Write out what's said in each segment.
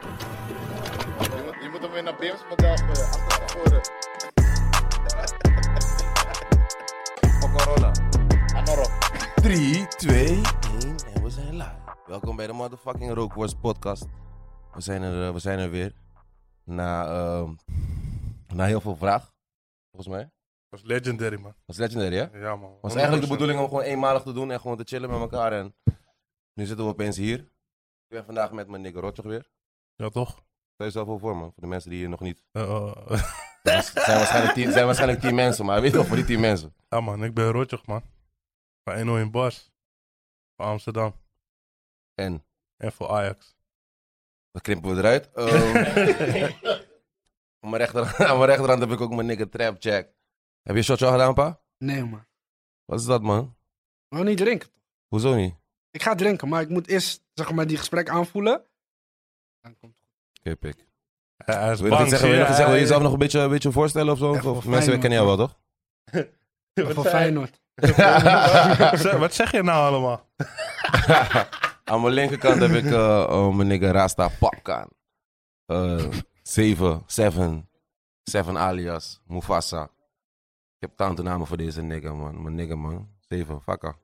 Je moet, je moet hem weer naar eh, Bims model gooien, achter naar voren. Corona. Anorok. 3, 2, 1 en we zijn live. Welkom bij de motherfucking Rookworst podcast. We zijn er, eh, we zijn er weer. Na, ehm, na heel veel vraag, volgens mij. was legendary, man. Was legendary, hè? Ja, man. Was eigenlijk de bedoeling om gewoon eenmalig te doen en gewoon te chillen met elkaar. En nu zitten we opeens hier. Ik ben vandaag met mijn nigger Rotjoch weer. Ja, toch? Stel jezelf wel voor, man. Voor de mensen die hier nog niet... Eh, eh, Het zijn waarschijnlijk tien, zijn waarschijnlijk tien mensen, maar weet toch, voor die tien mensen. ja, man. Ik ben Rotjoch, man. Van 101 Bars. Van Amsterdam. En, En voor Ajax. dat krimpen we eruit. Ehm, Aan mijn, rechter, aan mijn rechterhand heb ik ook mijn nigga Trap Jack. Heb je een shotje al gedaan, pa? Nee, man. Wat is dat, man? Ik wil niet drinken. Hoezo niet? Oké, Ik ga drinken, maar ik moet eerst zeg maar, die gesprek aanvoelen. Dan komt het pik. Wil Hij, hij is je nog iets bang. zeggen? Wil je, nog iets zeggen? Wil je jezelf nog een beetje, een beetje voorstellen of zo? Echt wel Of fijn, mensen man. kennen jou wel, toch? goed. Van Feyenoord. Zeg, Wat zeg je nou allemaal? Aan mijn linkerkant heb ik eh, oh, mijn nigga Rasta Popkaan. Eh, Zeven, Seven, Seven alias, Mufasa. Ik heb tante namen voor deze nigga, man. Mijn nigga, man. Zeven, fakka.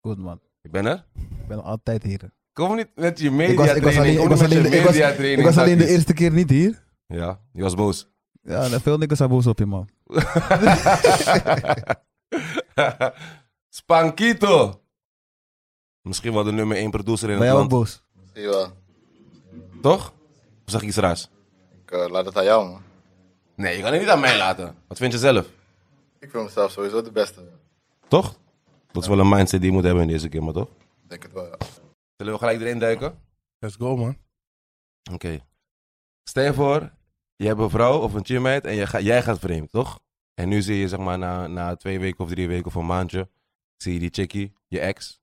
Goed man, Je bent er? ik ben altijd hier. Kom niet met je Ik was, media ik was alleen, training. ik was alleen, de, ik was, ik was alleen de eerste keer niet hier. Ja, je was boos. Ja, en veel niks zijn boos op je man. Spankito. Misschien wel de nummer 1 producer in Ben het jij ook land. boos? Zie je wel. Toch? Of zeg ik iets raars? Ik eh, laat het aan jou, man. Nee, je kan het niet aan mij laten. Wat vind je zelf? Ik vind mezelf sowieso de beste. man. Toch? Dat is wel een mindset die je moet hebben in deze game, maar toch? Ik denk het wel, ja. Zullen we gelijk erin duiken? Oké. Let's go, man. Stel je voor, je hebt een vrouw of een teammate en je ga- jij gaat vreemd, toch? En nu zie je, zeg maar, na, na twee weken of drie weken of een maandje, zie je die chickie, je ex,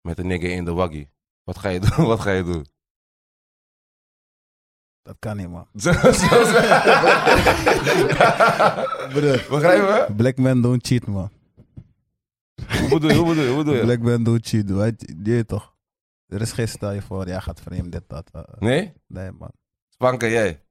met een nigger in de waggie. Wat ga je doen? Wat ga je doen? Dat kan niet man. Zo, zo, zo. Broer, Begrijpen we? black men don't cheat man. Hoe bedoel je? Hoe bedoel je? Hoe bedoel je? Black men don't cheat, weet je, je weet toch. Er is geen stel je voor, jij gaat vreemd dit, dat. eh, Nee? Nee man. Spanker, jij.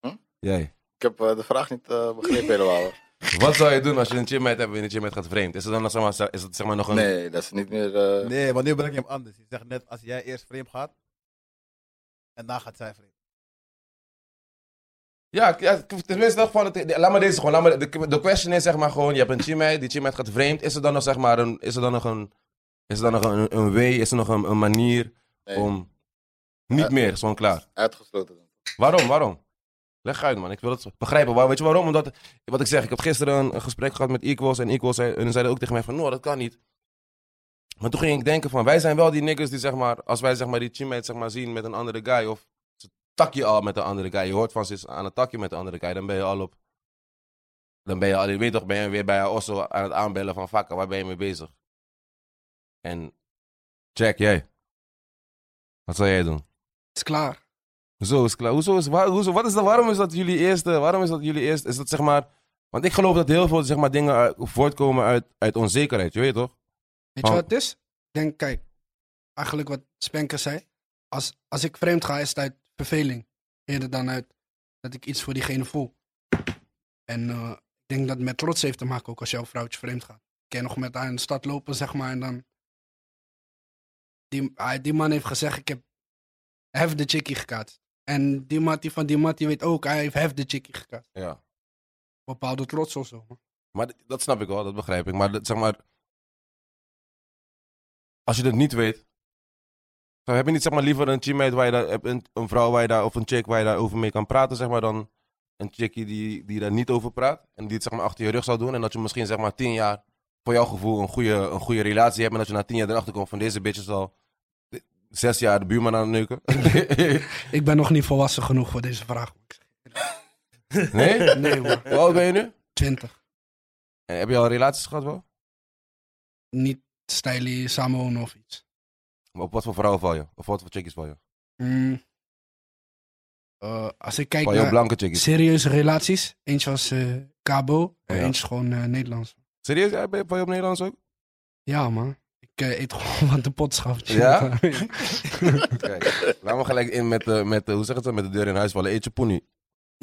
Hm? Jij. Ik heb eh, de vraag niet eh, begrepen helemaal. hoor. Wat zou je doen als je een chipmate hebt en een chipmate gaat vreemd? Is het dan nog, zeg maar, is het, zeg maar, nog een... Nee, dat is niet meer... eh, Nee, want nu breng je hem anders. Je zegt net, als jij eerst vreemd gaat, en dan gaat zij vreemd. Ja, k- ja, k- tenminste, dat van het, laat maar deze gewoon. Laat maar, de, de question is zeg maar gewoon, je hebt een chipmate, die chipmate gaat vreemd. Is er dan nog, zeg maar, een, is er dan nog een... Is er dan nog een, een way? Is er nog een, een manier nee, om... Niet Eh. meer, gewoon klaar. Uitgesloten. Waarom, waarom? Leg uit, man. Ik wil het begrijpen. Waar, weet je waarom? Omdat, wat ik zeg, ik heb gisteren een, een gesprek gehad met Equals. En Equals zei, en zeiden ook tegen mij van, no, dat kan niet. Maar toen ging ik denken van, wij zijn wel die niggas die, zeg maar, als wij zeg maar, die teammates zeg maar, zien met een andere guy. Of ze takje al met een andere guy. Je hoort van, ze is aan het takje met een andere guy. Dan ben je al op... Dan ben je al, je weet toch, ben je weer bij haar osso aan het aanbellen van, fuck, waar ben je mee bezig? En, check, jij. Wat zou jij doen? is klaar. Hoezo is klaar? Hoezo is, waar, hoezo, wat is dat, waarom is dat jullie eerste? Waarom is dat jullie eerste? Is dat zeg maar. Want ik geloof dat heel veel zeg maar, dingen uit- voortkomen uit, uit onzekerheid, je weet toch? Weet je Oh. wat het is? Ik denk, kijk, eigenlijk wat Spenker zei. Als, als ik vreemd ga, is het uit verveling. Eerder dan uit dat ik iets voor diegene voel. En eh, ik denk dat het met trots heeft te maken ook als jouw vrouwtje vreemd gaat. Ik kan nog met haar in de stad lopen, zeg maar. En dan. Die, ah, die man heeft gezegd: Ik heb Hef de chickie gekaatst. En die Mattie van die Mattie weet ook, hij heeft Hef de chickie gekaatst. Ja. Bepaalde trots of zo. man. Maar d- dat snap ik wel, dat begrijp ik. Maar dat, zeg maar... Als je dat niet weet... dan heb je niet zeg maar, liever een teammate waar je daar... hebt Een, een vrouw waar je daar, of een chick waar je daar over mee kan praten, zeg maar, dan... Een chickie die, die daar niet over praat. En die het zeg maar, achter je rug zou doen. En dat je misschien zeg maar tien jaar... Voor jouw gevoel een goede, een goede relatie hebt. En dat je na tien jaar erachter komt van deze bitch is al... eh, Zes jaar de buurman aan het neuken. Ik ben nog niet volwassen genoeg voor deze vraag. man. Ik zeg, nee? Nee man, Hoe oud ben je nu? 20. En heb je al relaties gehad wel? Niet stylie, samenwonen of iets. Maar Op wat voor vrouwen val je? Of wat voor chickies val je? Mm. Eh, als ik kijk Val je op naar blanke chickies? serieuze relaties, eentje was eh, Cabo en Oh, Ja. eentje is gewoon eh, Nederlands. Serieus? Ja, ben je, val je op Nederlands ook? Ja man, ik eh, eet gewoon wat de pot schaft. Ja? Kijk, laat me gelijk in met, de met de- hoe zeg het dan, met de deur in huis vallen. Eet je poenie.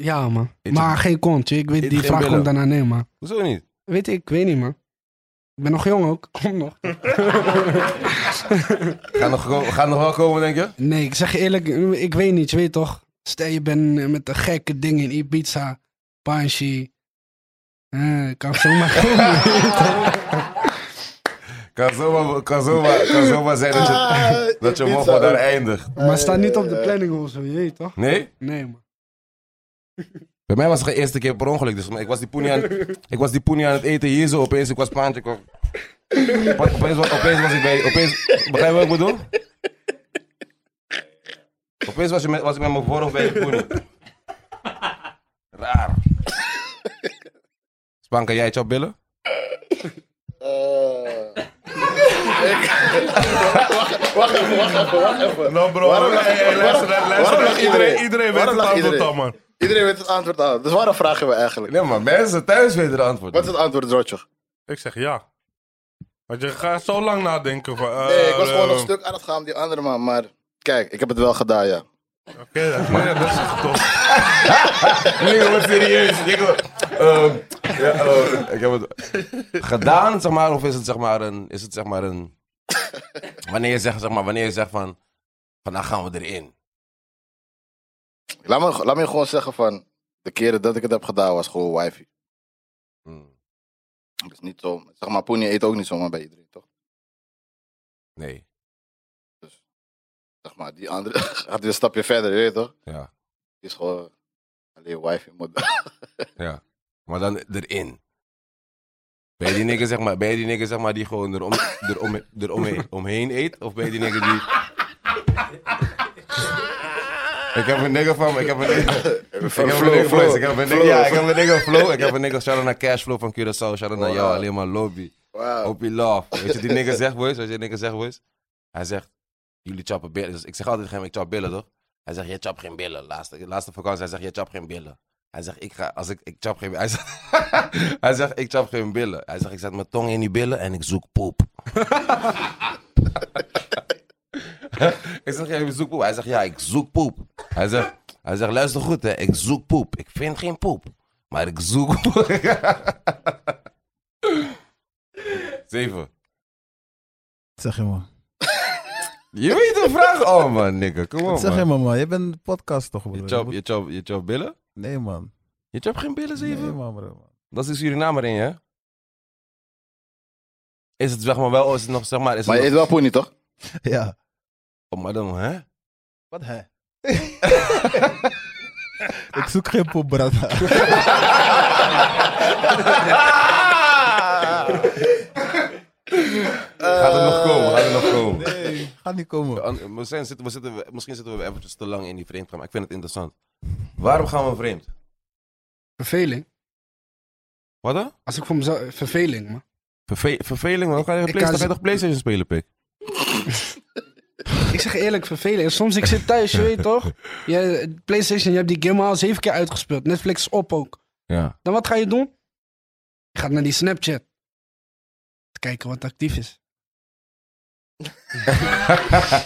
Ja, man. Eet maar het- geen kont, je. Ik weet Eet die geen vraag billen. komt daarna nee, man. Hoezo niet? Weet ik, ik weet niet, man. Ik ben nog jong ook. Kom nog. Gaan nog, ko- gaan nog wel komen, denk je? Nee, ik zeg je eerlijk, eh, ik weet niet, je weet toch. Stel je bent eh, met een gekke ding in Ibiza, Banshee. Eh, kan zomaar komen. Kan zomaar, kan zomaar, kan zomaar zijn dat Ah. je, dat je mocht daar eindigt. maar staat niet op de planning of zo, je weet toch? Nee? Nee, man. Bij mij was het de eerste keer per ongeluk. Dus ik was die poenie aan, ik was die poenie aan het eten hier zo. Opeens, ik was paantje. Ik was, opeens, wa- opeens was ik bij... Opeens, begrijp je wat ik bedoel? Opeens was, je met, was ik met mijn voorhoofd bij je poenie. Raar. Span, kan jij het jou billen? Eh, ik- wacht even, wacht even, wacht even. Nou bro, Waarom lag- hey, hey, luister, waarom- luister. waarom lag iedereen, iedereen weet waarom het lag antwoord iedereen? al, man. Iedereen weet het antwoord aan. Dus waarom vragen we eigenlijk? Nee, maar mensen thuis weten de antwoord. Wat is het antwoord, Rotjoch? Ik zeg ja. Want je gaat zo lang nadenken van... eh, Nee, ik was gewoon eh, een stuk aan het gaan om die andere man, maar kijk, ik heb het wel gedaan, ja. eh, Oké, dat- nee, dat is toch. Nigga, wat serieus. Nigga, ehm, ja, eh, ik heb het gedaan, zeg maar, of is het zeg maar een, is het zeg maar een, wanneer je zegt, zeg maar, wanneer je zegt van, vandaag gaan we erin. Laat me, laat me gewoon zeggen van, de keren dat ik het heb gedaan was gewoon wifey. Hmm, Dat is niet zo, zeg maar, Poenie eet ook niet zomaar bij iedereen, toch? nee, Zeg maar, die andere gaat weer een stapje verder, je weet toch? ja, Die is gewoon alleen wifey. moet- ja. Maar dan erin. Ben je die nigger, zeg maar, ben je die nigger, zeg maar, die gewoon erom, erom, erom, omheen eet? Of ben je die nigger die... Ik heb een nigger van, ik heb een nigger... Ik heb een Flow, nigga flow, Flow. Ik heb een nigga, flow. Oh, ja, ik heb een nigga Flow. Ik heb een nigga shout-out naar Cashflow van Curaçao. Shout-out naar jou, Wow. alleen maar lobby. Wauw. Op je love. Weet je wat die nigga zegt, boys? Weet je wat die nigga zegt, boys? Hij zegt, jullie chappen billen. Dus ik zeg altijd tegen hem, ik chap billen, toch? Hij zegt, jij chap geen billen. Laatste, laatste vakantie, hij zegt, jij chap geen billen. Hij zegt, ik ga, als ik, ik chap geen Hij zegt, hij zegt, ik chap geen billen. Hij zegt, ik zet mijn tong in die billen en ik zoek poep. ik zeg, jij zoekt poep. Hij zegt, ja, ik zoek poep. Hij zegt, hij zegt luister goed, hè. ik zoek poep. Ik vind geen poep, maar ik zoek poep. Zeven. zeg je man. Je weet de vraag. Oh man, nigga, kom Wat op zeg je man. man, man. Je bent een podcast toch, Je broer. chop, je chop, je chop billen? Nee, man. Je chop geen billen, Nee, zeven? man, broer. man. Dat is de Surinamer in je, hè? Is het zeg maar wel, is het nog zeg maar... Is het Maar je nog- eet wel Poenie, toch? Ja. Oh, maar dan, hè? Wat hij? Ik zoek geen poep, brada. Gaat het nog komen, gaat het nog komen. Nee, gaat niet We- komen. Eh, an- We zijn, zitten, we zitten, we- misschien zitten we eventjes te lang in die vreemd maar ik vind het interessant. Waarom gaan we vreemd? Verveling. Wat dan? Als ik voor mezelf... Verveling, man. Verve- verveling, man. Ga je, Ik play, kan dan ga je ze- toch PlayStation spelen, pik? Ik zeg eerlijk, verveling. Soms ik zit thuis, je weet toch? Je, Playstation, je hebt die game al zeven keer uitgespeeld. Netflix is op ook. Ja. Dan wat ga je doen? Je gaat naar die Snapchat. Kijken wat actief is.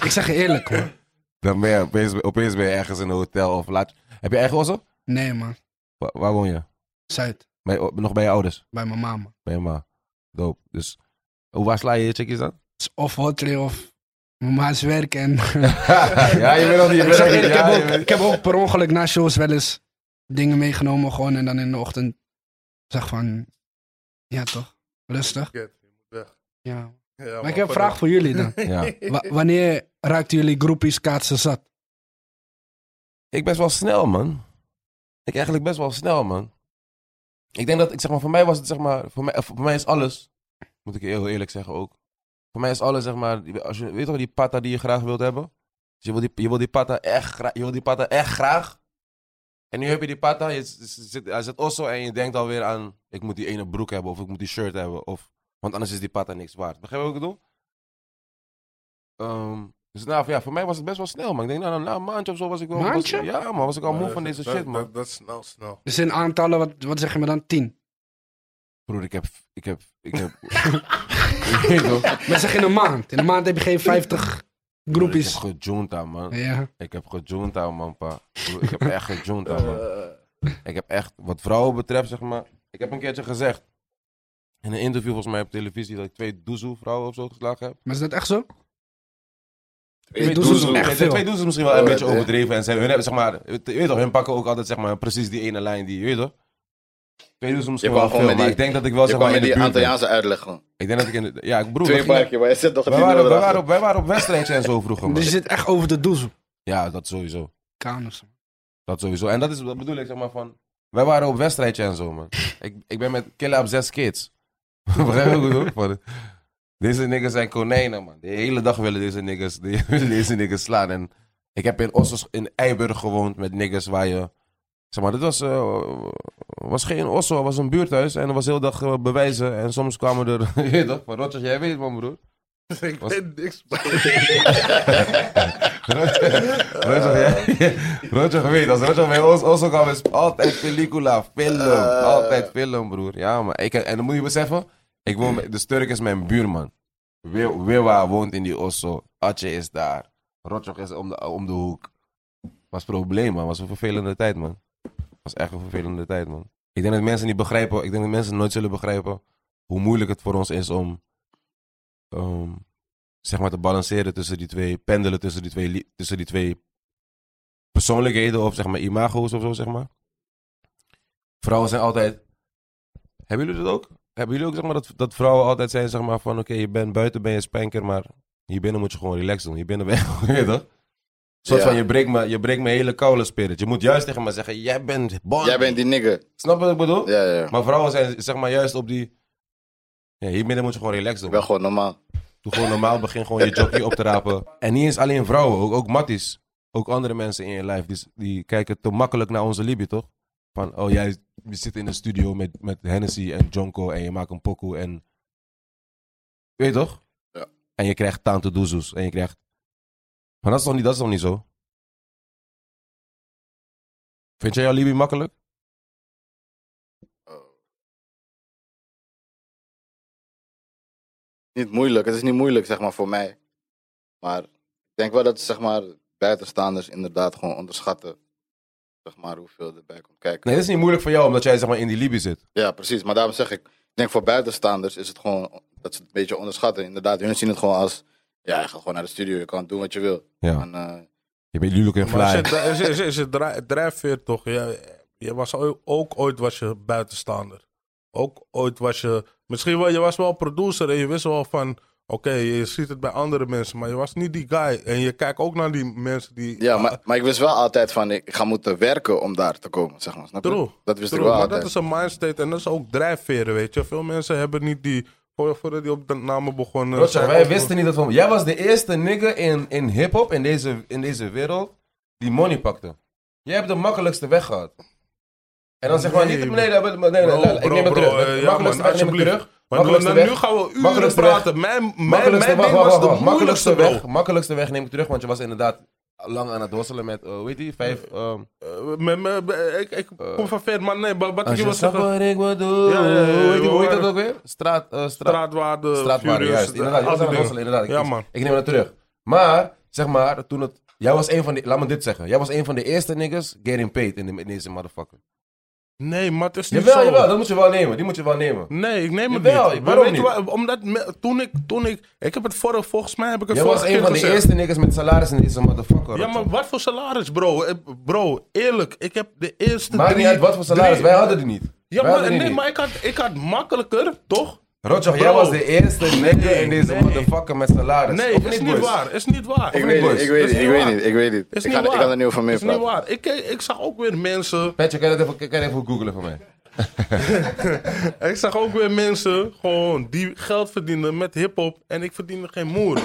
ik zeg je eerlijk hoor. Dan ben je opeens, opeens ben je ergens in een hotel of laat. Heb je eigen osso? Nee man, Wa- waar woon je? Zuid. Bij, o- nog bij je ouders? Bij mijn mama. Bij je ma. Doop. Dus hoe waar sla je je chickies dan? Het is Of Hot Trail of Mijn ma is werk en ja, je weet nog niet. Je weet ik, nog zeg niet. eerlijk, ik, Ja, heb je ook, weet- ik heb ook per ongeluk na shows wel eens dingen meegenomen gewoon en dan in de ochtend zeg van, ja toch, rustig. Kut, je moet weg. Ja. Ja, Maar man, ik heb een fuck vraag it. voor jullie dan. Ja. Wa- wanneer raakten jullie groepies kaatsen zat? Ik best wel snel, man. Ik eigenlijk best wel snel, man. Ik denk dat, ik zeg maar, voor mij was het, zeg maar, voor mij, eh, voor mij is alles, moet ik heel eerlijk zeggen ook. Voor mij is alles, zeg maar, die- als je, weet toch die pata die je graag wilt hebben? Dus je wil die, je wil die pata echt graag, je wil die pata echt graag. En nu heb je die pata, je z- z- zit, hij zit osso en je denkt alweer aan, ik moet die ene broek hebben of ik moet die shirt hebben. Of, want anders is die pata niks waard. Begrijp je wat ik bedoel? Ehm, dus nou, ja, voor mij was het best wel snel, man. Ik denk, nou, nou, na een maandje of zo was ik wel... was- Maandje? ja, man, was ik al moe Ja, van Nou, dat- deze dat- shit, man. Dat, dat is snel, snel. Dus in aantallen, wat, wat zeg je me dan? Tien. Broer, ik heb. Ik heb. Ik heb. ik weet toch? Broer, Maar zeg in een maand. In een maand heb je geen 50 Ik groepies. heb gejoonta, man. Ja. Ik heb gejoonta, man, pa. Broer, ik heb echt gejoonta, Eh, man. Ik heb echt, wat vrouwen betreft, zeg maar. Ik heb een keertje gezegd. In een interview, volgens mij op televisie, dat ik twee doezoe vrouwen of zo geslagen heb. Maar is dat echt zo? Twee doezoe is doezoe. echt Nee, veel. twee doezoe is misschien wel een Oh, beetje eh. overdreven. En ze hun hebben, zeg maar, je weet toch, hun pakken ook altijd zeg maar, precies die ene lijn die, je weet toch? Twee doezoe is misschien kwam wel gewoon veel, met maar die- ik denk dat ik wel Je zeg kwam maar in met de die buurt ben. Antilliaanse uitleg gewoon. Ik denk dat ik in de, ja, ik broer, we Twee gingen- parkje, maar je zit toch wij niet waren, wij, erachter. waren op, wij waren op wedstrijdjes en zo vroeger, man. Dus je zit echt over de doezel. Ja, dat sowieso. Kanus. Dat sowieso. En dat is wat bedoel ik, zeg maar van. Wij waren op wedstrijdje en zo, man. ik, ik ben met Killa op zes kids. Begrijp je goed ook van? Deze niggas zijn konijnen, man. De hele dag willen deze niggas, die willen deze niggas slaan. En ik heb in Ossos, in Eiburg gewoond met niggas waar je. Zeg maar, dit was, eh, was geen Osso, het was een buurthuis. En er was heel dag eh, bewijzen. En soms kwamen er. je weet toch, van Rotjes, jij weet het, man, broer. Ik Was- weet niks, man. Roger, jij- Roger weet, als Roger bij ons also kwam, is altijd pellicula, film, Eh. altijd film, broer. Ja, maar ik, en dan moet je beseffen, ik woon, met- dus Turk is mijn buurman. Weer- Wewa woont in die Osso, Atje is daar, Roger is om de, om de hoek. Was probleem, man. Was een vervelende tijd, man. Was echt een vervelende tijd, man. Ik denk dat mensen niet begrijpen, ik denk dat mensen nooit zullen begrijpen hoe moeilijk het voor ons is om, ehm, zeg maar, te balanceren tussen die twee, pendelen tussen die twee, li- tussen die twee persoonlijkheden of zeg maar imago's of zo, zeg maar. Vrouwen zijn altijd. Hebben jullie dat ook? Hebben jullie ook zeg maar dat, dat vrouwen altijd zijn zeg maar van oké, je bent buiten ben je spanker, maar hier binnen moet je gewoon relaxed doen. Hier binnen ben je gewoon, weet je toch? Een soort Ja. van je breekt me, je breekt mijn hele koude spirit. Je moet juist tegen me zeggen, jij bent bon. Jij bent die nigger. Snap je wat ik bedoel? Ja, ja. Maar vrouwen zijn zeg maar juist op die. Ja, hier binnen moet je gewoon relaxed Ik doen. ben gewoon normaal. Doe gewoon normaal, begin gewoon je jockey op te rapen. En niet eens alleen vrouwen, ook, ook matties. Ook andere mensen in je lijf, die, die kijken te makkelijk naar onze Libië, toch? Van, oh jij zit in de studio met, met Hennessy en Jonko en je maakt een pokoe en... Weet je toch? Ja. En je krijgt Tanto Doezoes en je krijgt... Maar dat is toch niet, dat is toch niet zo? Vind jij jouw Libië makkelijk? Niet moeilijk. Het is niet moeilijk, zeg maar, voor mij. Maar ik denk wel dat, zeg maar, buitenstaanders inderdaad gewoon onderschatten. Zeg maar, hoeveel erbij komt kijken. Nee, dat is niet moeilijk voor jou, omdat jij zeg maar in die Libië zit. Ja, precies. Maar daarom zeg ik, ik denk voor buitenstaanders is het gewoon dat ze het een beetje onderschatten. Inderdaad, hun zien het gewoon als, ja, je gaat gewoon naar de studio, je kan doen wat je wil. Ja, En, eh, je bent Luluk en Maar Fly. is het- is het- is het- is het dri- drijfveer toch? Je, je was ook, ook ooit was je buitenstaander. Ook ooit was je... Misschien wel, je was wel producer en je wist wel van... Oké, je ziet het bij andere mensen, maar je was niet die guy. En je kijkt ook naar die mensen die... ja, maar, maar ik wist wel altijd van, ik ga moeten werken om daar te komen, zeg maar. Snap je? True. Dat wist True, ik wel maar altijd. dat is een mindset en dat is ook drijfveren, weet je. Veel mensen hebben niet die... voor- Voordat die op de namen begonnen... Roger, zijn wij ook- wisten niet dat van. Jij was de eerste nigger in, in hip-hop in deze, in deze wereld die money pakte. Jij hebt de makkelijkste weg gehad. En dan zeg maar Nee, niet. bro. Nee, nee, nee, nee, Bro, nee, ik bro, neem het bro, terug. eh, De ja, makkelijkste man, weg neem ik terug. alsjeblieft. Want we- Makkelijkste nou, weg. nu gaan we uren Makkelijkste praten. Mijn, mijn, Makkelijkste mijn weg, ding wacht, was wacht, de wacht. Makkelijkste moeilijkste, bro. weg. Makkelijkste weg neem ik terug, want je was inderdaad lang aan het worstelen met, eh, hoe heet die, vijf... ehm, Eh, me- me- ik, ik kom van ver, maar nee, maar wat ik als je je wil snapt zeggen. wat ik wil doen. Ja, ja, ja, Hoe heet die- hoe heet we dat waren- ook weer? Straat, eh, straat, Straatwaarde, Straatwaarde, Furious, juist. Inderdaad, je al was die aan het dingen. worstelen, inderdaad. Ik, Ja, ik- man. ik neem dat terug. Maar, zeg maar, toen het... Jij was een van de... Laat me dit zeggen. Jij was een van de eerste niggas getting paid in, de- in deze motherfucker. Nee, maar het is niet Jawel, zo. jawel, dat moet je wel nemen. Die moet je wel nemen. Nee, ik neem het Jawel, niet. waarom Weet je niet? waar- omdat me- toen ik, toen ik, ik heb het vorig, volgens mij heb ik het Jij was vorige een keer van de gezegd. eerste niggas met salaris in deze motherfucker. Ja, maar wat voor salaris, bro? Eh, Bro, eerlijk, ik heb de eerste Maakt drie... niet uit wat voor salaris, drie- wij hadden die niet. Ja, Wij maar, hadden die nee, niet. maar ik had, ik had makkelijker, toch? Roger, jij Bro. was de eerste nigger Nee, in deze nee. motherfucker met salaris. Nee, Of is niet boys? waar, is niet waar. Ik weet, boys? niet, ik weet Is niet, niet ik weet waar. niet, ik weet niet. Is Ik niet ga, ik waar. ga er niet over meer Is niet praten. waar. Ik, ik zag ook weer mensen, Petje, kan je dat even, kan je dat even googlen voor mij? ik zag ook weer mensen gewoon die geld verdienden met hiphop en ik verdiende geen moer.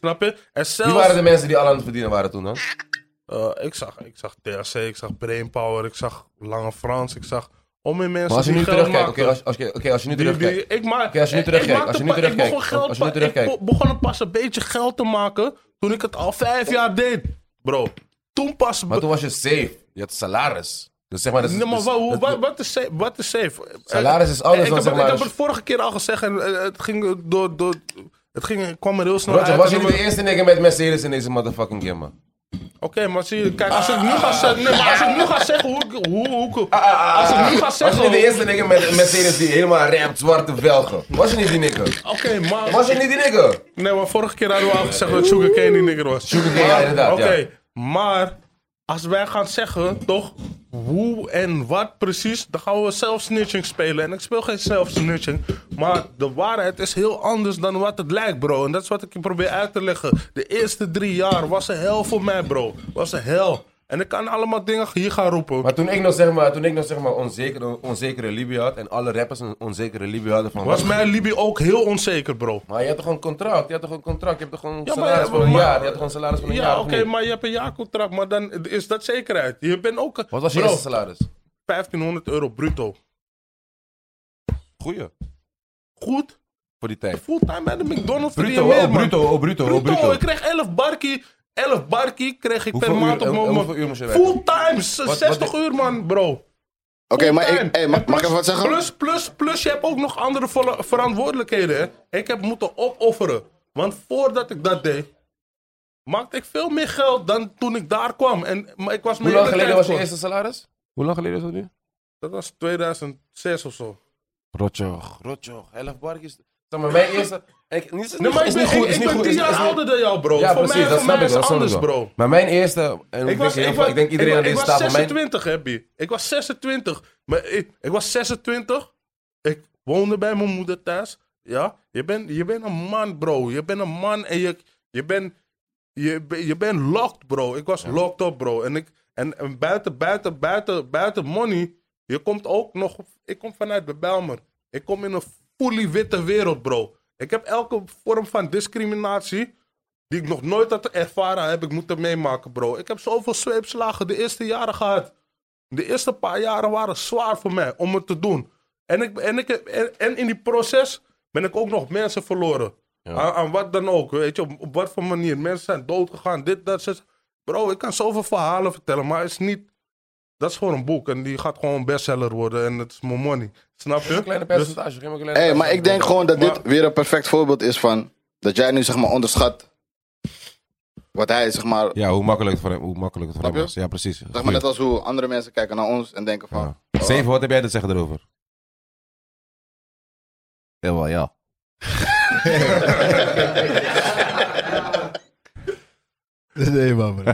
Snap je? En zelfs... Wie waren de mensen die al aan het verdienen waren toen dan? eh, ik, zag, ik zag THC, ik zag Brainpower, ik zag Lange Frans, ik zag om in mensen Maar als je die nu geld terugkijkt, oké, maakten. als- als- oké, als je nu Die- die- terugkijkt. ik maak, Oké, als je nu ik- terugkijkt, ik maakte als je nu pa- ik terugkijkt, begon als- geld als je nu pa- terugkijkt. Ik be- begon pas een beetje geld te maken toen ik het al vijf jaar deed, bro. Toen pas... Maar be- toen was je safe. Je had salaris. Dus zeg maar, dat is, Nee, maar dus- wa- hoe- dat- wa- wat, is safe, wat is safe? Salaris is Eh, alles, eh, Ik, dan heb, zeg het- ik maar. heb het vorige keer al gezegd en eh, het ging door... door het ging, kwam er heel snel Roger, uit. was en je niet we- de eerste nigger met Mercedes in deze motherfucking game, man? Oké, maar zie je, kijk, als ik nu ga zeggen, nee, maar als ik nu ga zeggen hoe ik, hoe, hoe Ah, ik- als ik nu ga Was je niet de zeggen, eerste nigger met Mercedes die helemaal ramt, zwarte velgen? Was je niet die nigger? oké, maar, Was je niet die nigger? nee, maar vorige keer hadden we al gezegd dat Sugar Cane die nigger was. Sugarcane, ja, inderdaad, Ah, Oké, ja. maar als wij gaan zeggen, toch, hoe en wat precies, dan gaan we zelfsnitching spelen. En ik speel geen zelfsnitching, maar de waarheid is heel anders dan wat het lijkt, bro. En dat is wat ik je probeer uit te leggen. De eerste drie jaar was een hel voor mij, bro. Was een hel. En ik kan allemaal dingen hier gaan roepen. Maar toen ik nog zeg maar, toen ik nog zeg maar onzekere, onzekere Libië had en alle rappers een onzekere Libië hadden van... Was mijn Libi ook heel onzeker, bro. Maar je had toch gewoon een contract? Je had toch gewoon een contract? Je hebt toch gewoon een Ja, maar- salaris voor een maar- jaar? Je had toch gewoon een salaris voor een jaar? Ja, of oké, niet? maar je hebt een jaarcontract, maar dan is dat zekerheid. Je bent ook... Wat was je bro, eerste salaris? 1500 euro bruto. Goeie. Goed, Voor die tijd. fulltime bij de McDonald's. verdien Bruto, je meer, oh man. bruto, oh bruto, oh bruto. ik kreeg 11 barkie. 11 barkie kreeg ik Hoeveel per maand uur, op hoe- mijn... hoeveel uur moest je werken? Fulltime, z- wat- 60 uur man, bro. Oké, maar Fulltime. ik, hey, mag, En mag ik plus- even wat zeggen? Plus, plus, plus, je hebt ook nog andere volle- verantwoordelijkheden. Hè? Ik heb moeten opofferen. Want voordat ik dat deed, maakte ik veel meer geld dan toen ik daar kwam. En maar ik was Hoe mijn lang hele geleden tijd was je voor. eerste salaris? Hoe lang geleden is dat nu? Dat was 2006 of zo. Rotjoch, rotjoch, 11 barkjes. Zeg maar, mijn eerste... Ik, niet, is Nee, maar ik is ben, niet ik, goed, is ik niet ben goed. 10 is- is jaar niet- ouder dan jou, bro. Ja, voor precies, mij, dat voor snap mij ik wel, is dat snap ik anders, wel. bro. Maar mijn eerste, en ik, denk, heel veel- ik denk iedereen wa- aan deze was tafel, mijn 26, Happy. Ik was 26. Maar ik, ik was 26. Ik woonde bij mijn moeder thuis. Ja, je bent je bent een man, bro. Je bent een man en je, je bent je, ben- je bent locked, bro. Ik was locked up, bro. En, ik, en, en buiten, buiten, buiten, buiten money. Je komt ook nog... Ik kom vanuit de Belmer. Ik kom in een fully witte wereld, bro. Ik heb elke vorm van discriminatie... die ik nog nooit had ervaren, heb ik moeten meemaken, bro. Ik heb zoveel zweepslagen de eerste jaren gehad. De eerste paar jaren waren zwaar voor mij om het te doen. En, ik, en, ik, en, en in die proces ben ik ook nog mensen verloren. Aan, aan wat dan ook, weet je, op, op wat voor manier. Mensen zijn doodgegaan, dit, dat, zes. Bro, ik kan zoveel verhalen vertellen, maar het is niet... Dat is gewoon een boek en die gaat gewoon bestseller worden en het is mijn money. Snap je? Een kleine Dus- percentage, geen maar een kleine Hey, maar percentage. ik denk gewoon dat dit Maar- weer een perfect voorbeeld is van dat jij nu zeg maar onderschat wat hij zeg maar. Ja, hoe makkelijk het voor hem, hoe makkelijk het voor Snap hem je? was. Ja, precies. Zeg maar Goeie. net als hoe andere mensen kijken naar ons en denken van. Ja. Zeven, wat heb jij te zeggen erover? Jawel, ja. Nee, man, bro.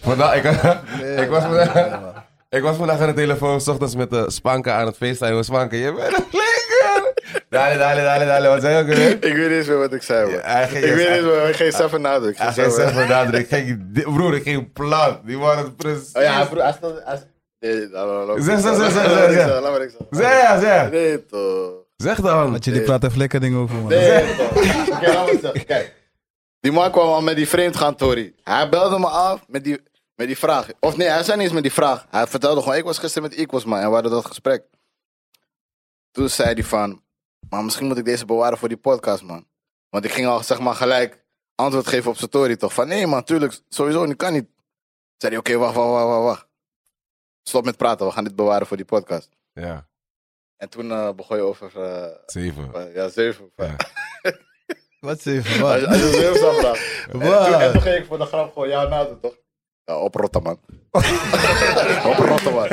Vandaag, nou, ik, Nee, ik, was man, vandaag, nee, man. ik was vandaag aan de telefoon, s ochtends met eh Spanka aan het feesten. Spanka, je bent een flikker! Dale, dale, dale, dale, wat zei je ook alweer? Ik weet niet eens meer wat ik zei. man. Ja, hij ging- ik weet niet meer. Ik geef zelf een nadruk. Hij Geen zelf ging een- zeggen, nader, ik ging, di- broer, ik ging plat. Die waren het precies. Oh ja, hij vroeg. Hij stond. hij- Nee, laat maar- laat maar- Zeg, zeg, zeg, zeg, Laat maar zeg, ik zeg. zeggen, Laat maar ik Zeg, zeggen. zeg, Nee, toch. zeg dan. Want jullie praten even lekker dingen over, man. Nee, toch. Oké, laat maar zeggen. Kijk. Die man kwam al met die vreemdgaan, Tori. Hij belde me af met die, met die vraag. Of nee, hij zei niet eens met die vraag. Hij vertelde gewoon, ik was gisteren met Equals, man. En we hadden dat gesprek. Toen zei hij van, maar misschien moet ik deze bewaren voor die podcast, man. Want ik ging al, zeg maar, gelijk antwoord geven op zijn Tori, toch? Van, nee, man, tuurlijk, sowieso, nu kan niet. Zei hij, oké, wacht, wacht, wacht, wacht, wacht. Stop met praten, we gaan dit bewaren voor die podcast. Ja, En toen eh, begon je over, eh, zeven. ja, zeven. Ja. Wat zeven, Als je, man. als je het zelf zou vragen. En Wow. toen- En toen ging ik voor de grap gewoon jou nadoen, toch? Ja, oprotten, man. oprotten, man.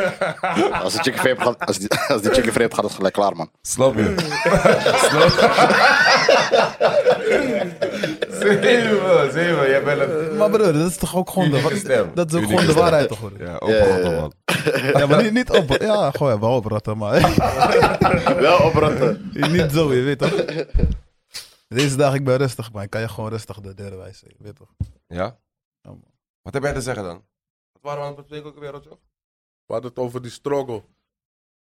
Als die chicken vape gaat, als die, als die chicken vape gaat, is het gelijk klaar, man. Slap je. Zeven, zeven. Jij bent een Maar broer, dat is toch ook gewoon de, unieke wat- stem. dat is ook Unieke gewoon de stem. waarheid toch? hoor? Ja, ook Ja, ja, wel, ja. man. Ja, maar niet, niet op. Ja, gooi wel opratten, maar Wel oprotten. niet zo, je weet toch? Deze dag ik ben rustig, man. Ik kan je gewoon rustig de deur wijzen, je weet toch? Ja? Ja, Oh, man. Wat heb jij te zeggen dan? Wat waren we aan het bespreken ook weer, Rotjo? We hadden het over die struggle.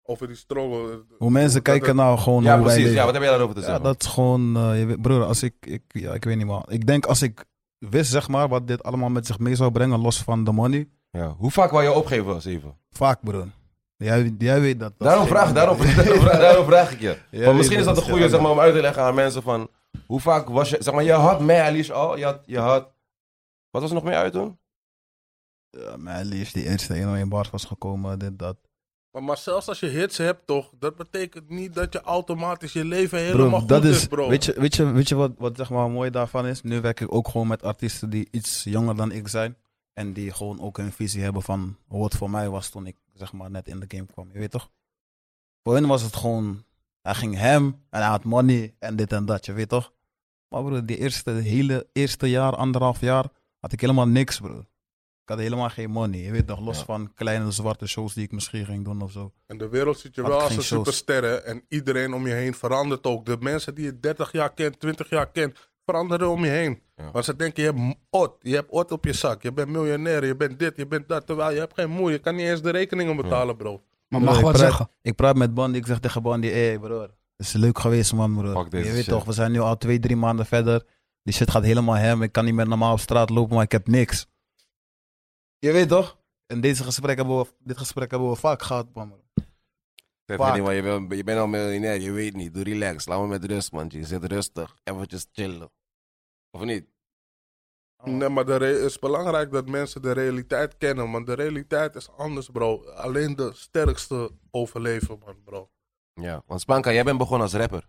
Over die struggle. Hoe mensen Dat- kijken nou gewoon Ja, hoe wij precies. leven. Ja, wat heb jij daarover te Ja, zeggen? dat is gewoon, eh, je weet- broer, als ik, ik, ja, ik weet niet man. Ik denk als ik wist, zeg maar, wat dit allemaal met zich mee zou brengen, los van de money. Ja. Hoe vaak wou je opgeven, Zeven? Vaak, broer. Jij, jij weet dat. dat Daarom geen- vraag, daarom, daarom, vraag- daarom vraag ik je. Jij weet Maar misschien is dat een geen- goede zeg maar, om uit te leggen aan mensen van... Hoe vaak was je... Zeg maar, je had mij Alice al. Je had, je had... Wat was er nog meer uit toen? Ja, mijn liefst, die eerste 101 bars was gekomen, dit, dat. Maar, maar zelfs als je hits hebt, toch? Dat betekent niet dat je automatisch je leven helemaal Bro, goed dat is, is, bro. weet je, weet je, weet je wat, wat zeg maar mooi daarvan is? Nu werk ik ook gewoon met artiesten die iets jonger dan ik zijn. En die gewoon ook een visie hebben van hoe het voor mij was toen ik zeg maar net in de game kwam. Je weet toch? Voor hen was het gewoon, hij ging hem en hij had money en dit en dat, je weet toch? Maar broer, die eerste, hele eerste jaar, anderhalf jaar, had ik helemaal niks broer. Ik had helemaal geen money, je weet toch? Los Ja. van kleine zwarte shows die ik misschien ging doen of zo. En de wereld ziet je Had wel ik als geen een shows. superster. hè, En iedereen om je heen verandert ook. De mensen die je 30 jaar kent, 20 jaar kent, veranderen om je heen. Ja. Want ze denken, je hebt ot. Je hebt ot op je zak. Je bent miljonair. Je bent dit, je bent dat. Terwijl je hebt geen moeite. Je kan niet eens de rekeningen betalen, bro. Maar Broer, mag ik wat praat- zeggen. Ik praat met Bandy, ik zeg tegen Bandy, hé hey, broer, het is leuk geweest man broer. Pak deze je weet shit. toch, we zijn nu al twee, drie maanden verder. Die shit gaat helemaal hem, ik kan niet meer normaal op straat lopen, maar ik heb niks. Je weet toch? En deze gesprek hebben we, dit gesprek hebben we vaak gehad man. broer. Zeg Vaak. maar niet, man, je, bent, je bent al miljonair, je weet niet. Doe relax, laat me met rust, man. Je zit rustig, eventjes chillen. Of niet? Oh. Nee, maar het is belangrijk dat mensen de realiteit kennen. Want de realiteit is anders, bro. Alleen de sterkste overleven, man, bro. Ja. Want Spanka, jij bent begonnen als rapper.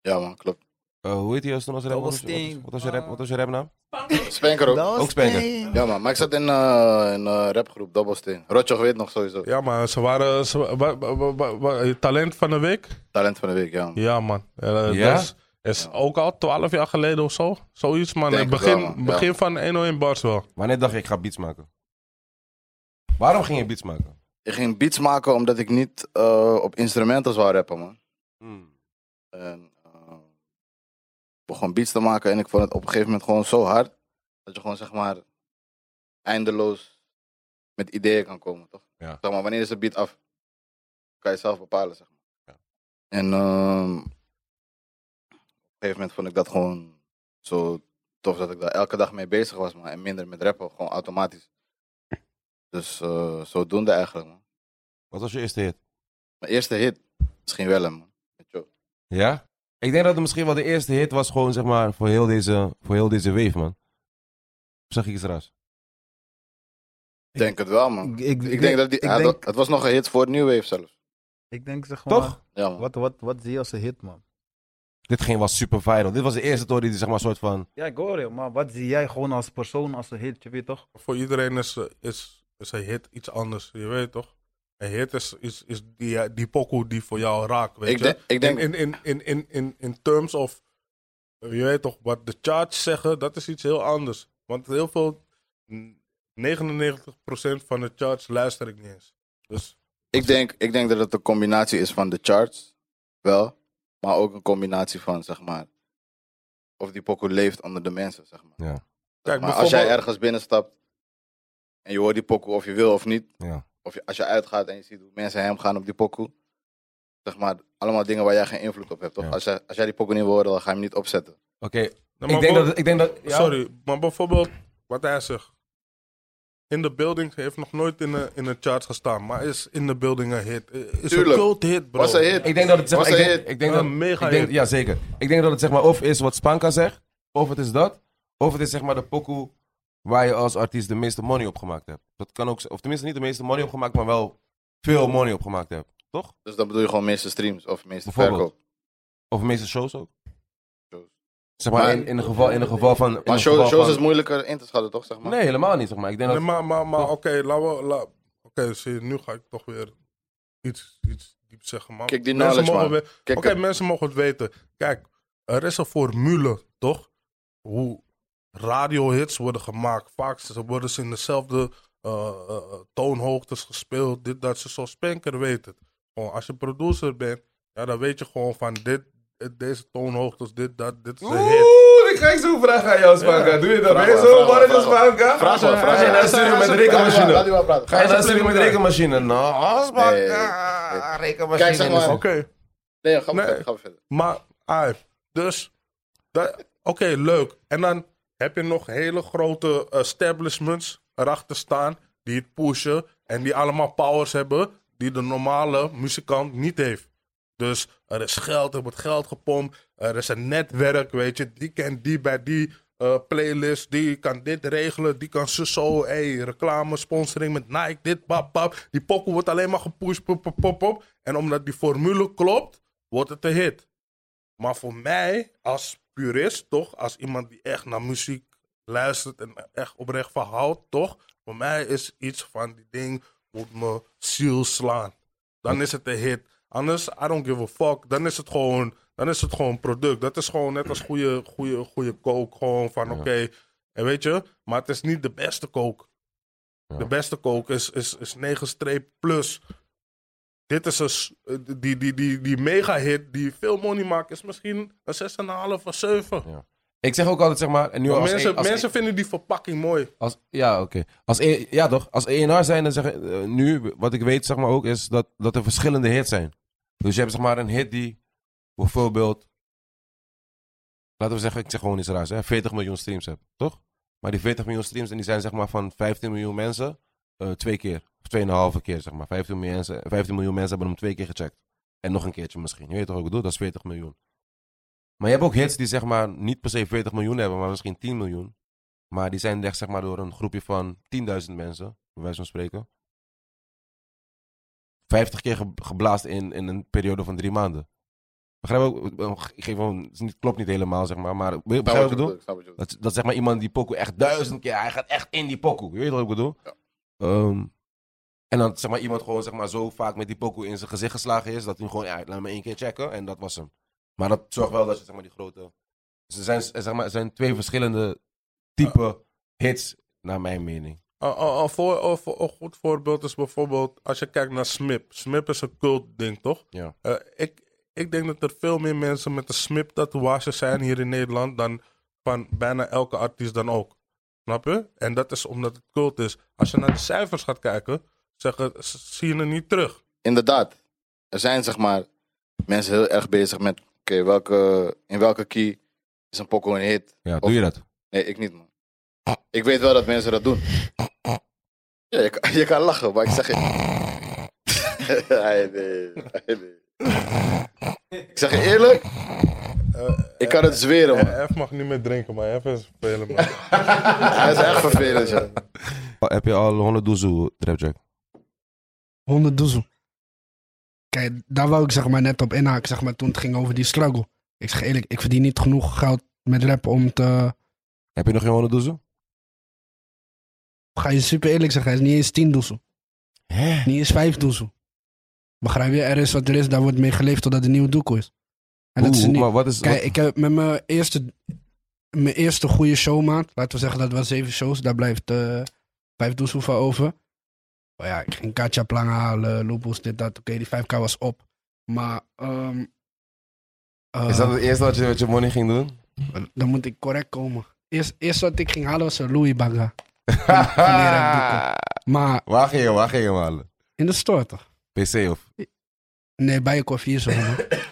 Ja, man, klopt. Eh, hoe heet hij toen als rapper? Wat was, Dobbelsteen. wat was je rap, wat was je rapnaam? Spanker ook. Ook Spanker. Ja, man. Maar ik zat in eh, een eh, rapgroep, Dobbelsteen. Rotjoch weet nog sowieso. Ja, maar ze waren... Ze, wa- wa- wa- wa- wa- talent van de week? Talent van de week, ja, man. Ja, man. Eh, Ja? Dat is, is ook al 12 jaar geleden of zo. Zoiets, man. Denk Eh, het begin wel, man. begin van 101 bars wel. Wanneer dacht je, ik ga beats maken? Waarom ging je beats maken? Ik ging beats maken omdat ik niet eh, op instrumenten zou rappen, man. Hmm. En, eh, ik begon beats te maken en ik vond het op een gegeven moment gewoon zo hard. Dat je gewoon zeg maar eindeloos met ideeën kan komen, toch? Ja. Zeg maar, wanneer is de beat af? Kan je zelf bepalen, zeg maar. Ja. En ehm, op een gegeven moment vond ik dat gewoon zo tof dat ik daar elke dag mee bezig was, man. En minder met rappen, gewoon automatisch. Dus eh, zodoende eigenlijk, man. Wat was je eerste hit? Mijn eerste hit, misschien wel hem, man. Met Joe. Ja? Ik denk dat het misschien wel de eerste hit was gewoon, zeg maar, voor heel deze, voor heel deze wave, man. Of zeg ik iets raars? Ik denk het wel, man. ik, Ik denk dat die, ik hij had- denk, het was nog een hit voor New Wave zelfs. ik denk zeg maar, Toch? Ja, man. Wat, wat, wat zie je als een hit man? Dit ging wel super viral. Dit was de eerste tory die, zeg maar, soort van... Ja, ik hoor je, maar wat zie jij gewoon als persoon als een hit, je weet toch? Voor iedereen is, eh, is, is een hit iets anders. Je weet toch? Een hit is, is, is die, die pokoe die voor jou raakt, weet Ik je? denk- ik denk- In, in, in, in, in, in terms of... eh, Je weet toch, wat de charts zeggen, dat is iets heel anders. Want heel veel... mm, 99% van de charts luister ik niet eens. Dus Ik denk, ik denk dat het een combinatie is van de charts, wel. Maar ook een combinatie van, zeg maar, of die pokoe leeft onder de mensen, zeg maar. Ja. Kijk, maar als jij bijvoorbeeld- ergens binnenstapt en je hoort die pokoe of je wil of niet. Ja. Of je, als je uitgaat en je ziet hoe mensen hem gaan op die pokoe. Zeg maar, allemaal dingen waar jij geen invloed op hebt, toch? Ja. Als, jij, als jij die pokoe niet wil horen, dan ga je hem niet opzetten. Oké, Nou, ik maar denk voor- dat... Ik denk dat ja. Sorry, maar bijvoorbeeld wat hij zegt. In de building heeft nog nooit in de, in de charts gestaan, maar is in de building een hit. Eh, Is een Tuurlijk. cult hit, bro. Was een hit. Ik denk dat het zeg maar, Was ik een denk, hit. ik denk dat Een mega ik denk, hit. ja zeker. Ik denk dat het zeg maar of is wat Spanka zegt, of het is dat, of het is zeg maar de pokoe waar je als artiest de meeste money op gemaakt hebt. Dat kan ook, z- of tenminste niet de meeste money op gemaakt, maar wel veel money op gemaakt hebt, toch? Dus dan bedoel je gewoon meeste streams of meeste Bijvoorbeeld. verkoop. Of de meeste shows ook. Zeg maar, Maar- in, in een geval, in een geval van... in Maar een show- geval shows van- is moeilijker in te schatten, toch? Zeg maar. Nee, helemaal niet, zeg maar. Ik denk Nee, dat... maar maar, maar oké, laten we. la- Oké, zie je, nu ga ik toch weer iets, iets diep zeggen, man. Kijk, die Mensen knowledge, mogen man. weer- Kijk, Oké, mensen mogen het weten. Kijk, er is een formule, toch? Hoe radiohits worden gemaakt. Vaak ze- worden ze in dezelfde eh, eh, toonhoogtes gespeeld. Dit, dat. Ze zoals Spenker weet het. Gewoon, als je producer bent, ja, dan weet je gewoon van dit, dit- deze toonhoogtes, dit, dat, dit is een hit. Oeh, ik ga ik zo'n vraag aan jou, Spanka. Doe je dat? Ben je maar, zo vraag maar, warm als vraag maar. Spanka? Vraag maar, vraag Ga je maar. naar de studio met de Laat die rekenmachine? maar praten. Ga je naar de studio met de rekenmachine? Nou, Nee, Spanka. Rekenmachine. Kijk, zeg maar. Oké. Nee, ga maar Nee. verder, ga maar verder. Maar, ah, dus, dat- oké, leuk. En dan heb je nog hele grote eh, establishments erachter staan die het pushen en die allemaal powers hebben die de normale muzikant niet heeft. Dus er is geld, er wordt geld gepompt, er is een netwerk, weet je, die kent die bij die eh, playlist, die kan dit regelen, die kan zo zo, hey, reclame, sponsoring met Nike, dit, pap, pap. Die pokoe wordt alleen maar gepusht, pop, pop, pop, pop. En omdat die formule klopt, wordt het een hit. Maar voor mij, als purist, toch, als iemand die echt naar muziek luistert en echt oprecht van houdt, toch, voor mij is iets van die ding moet me ziel slaan. Dan is het een hit. Anders, I don't give a fuck. Dan is het gewoon, dan is het gewoon product. Dat is gewoon net als goede, goede, goede kook. Gewoon van, oké, en weet je, maar het is niet de beste kook. De beste kook is, is, is 9 streep plus. Dit is een, s- eh, die, die, die, die mega hit die veel money maakt, is misschien een 6,5 of 7. Ik zeg ook altijd, zeg maar... En nu Maar als mensen een- als mensen vinden die verpakking mooi. Als, ja, oké. Als E- Ja, toch? Als ENR zijn, dan zeg ik, eh, nu, wat ik weet, zeg maar ook, is dat, dat er verschillende hits zijn. Dus je hebt, zeg maar, een hit die, bijvoorbeeld, laten we zeggen, ik zeg gewoon iets raars, hè, 40 miljoen streams hebt, toch? Maar die 40 miljoen streams, en die zijn, zeg maar, van 15 miljoen mensen, eh, twee keer, of tweeënhalve keer, zeg maar. 15 miljoen, mensen, 15 miljoen mensen hebben hem twee keer gecheckt. En nog een keertje misschien. Je weet toch wat ik bedoel? Dat is 40 miljoen. Maar je hebt ook hits die, zeg maar, niet per se 40 miljoen hebben, maar misschien 10 miljoen. Maar die zijn echt zeg maar door een groepje van 10.000 mensen, bij wijze van spreken. 50 keer ge- geblaast in, in een periode van drie maanden. Begrijp je ook? Ik geef gewoon, het is niet- klopt niet helemaal zeg maar, maar begrijp je wat Snap wat ik je bedoel? bedoelt, snap wat je bedoelt. Dat, dat zeg maar iemand die pokoe echt duizend keer, hij gaat echt in die pokoe. Je weet wat ik bedoel? Ja. Ehm, en dan zeg maar iemand gewoon zeg maar zo vaak met die pokoe in zijn gezicht geslagen is, dat hij gewoon, ja, laat me één keer checken en dat was hem. Maar dat zorgt wel dat je zeg maar die grote... Dus er zijn, er, zeg maar, er zijn twee verschillende type hits, naar mijn mening. Een- Een een voor- een voor- een goed voorbeeld is bijvoorbeeld als je kijkt naar Smip. Smip is een cult ding, toch? Ja. Eh, ik, ik denk dat er veel meer mensen met een Smip-tatoeage zijn hier in Nederland dan van bijna elke artiest dan ook. Snap je? En dat is omdat het cult is. Als je naar de cijfers gaat kijken, zeggen, s- zie je het niet terug. Inderdaad. Er zijn zeg maar mensen heel erg bezig met, oké, welke, in welke key is een pokoe een hit? Ja, doe je dat? Nee, ik niet, man. Ik weet wel dat mensen dat doen. Ja, je, kan- je kan lachen, maar ik zeg je... Ai, nee, ai, nee. Ik zeg je eerlijk, Eh, ik kan het zweren, man. F mag niet meer drinken, maar F is spelen. man. Hij is echt vervelend, ja. Heb je al 100 doezoe, Trapjack? 100 doezel. Kijk, daar wou ik zeg maar net op inhaken, zeg maar, toen het ging over die struggle. Ik zeg eerlijk, ik verdien niet genoeg geld met rap om te... Heb je nog geen 100 doezoe? Ga je super eerlijk zeggen, het is niet eens 10 doezel. Hè? Niet eens 5 doezel. Begrijp je? Er is wat er is, daar wordt mee geleefd totdat een nieuwe doekoe is. En dat is Hoe- niet. maar wat is... Kijk, ik heb met mijn eerste, mijn eerste goede showmaat, laten we zeggen dat was zeven shows, daar blijft eh, vijf doezel van over. Maar ja, ik ging Katja Plang halen, Lupus, dit, dat. Oké, die 5k was op. Maar, ehm, eh, wat- is dat het eerste wat je met je money ging doen? dan moet ik correct komen. Eerst, eerst wat ik ging halen was een Louis Baga. Van- van die rapdoeken. Maar waar ging je, waar ging je hem halen? in de store toch? PC of? Nee, bij je koffier zo. man.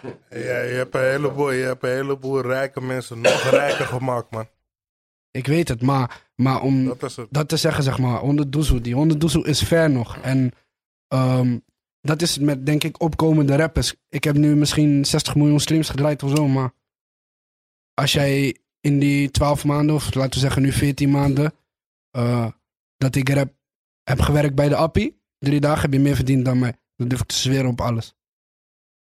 ja, je, hebt een heleboel, je hebt een heleboel rijke mensen nog rijker gemaakt, man. ik weet het, maar, maar om... Dat is het. dat te zeggen, zeg maar, 100 doezoe. Die 100 doezoe is ver nog. En ehm, dat is het met, denk ik, opkomende rappers. Ik heb nu misschien 60 miljoen streams gedraaid of zo, maar als jij in die 12 maanden, of laten we zeggen nu 14 maanden, eh, dat ik rap heb gewerkt bij de Appie, drie dagen heb je meer verdiend dan mij. Dat durf ik te zweren op alles.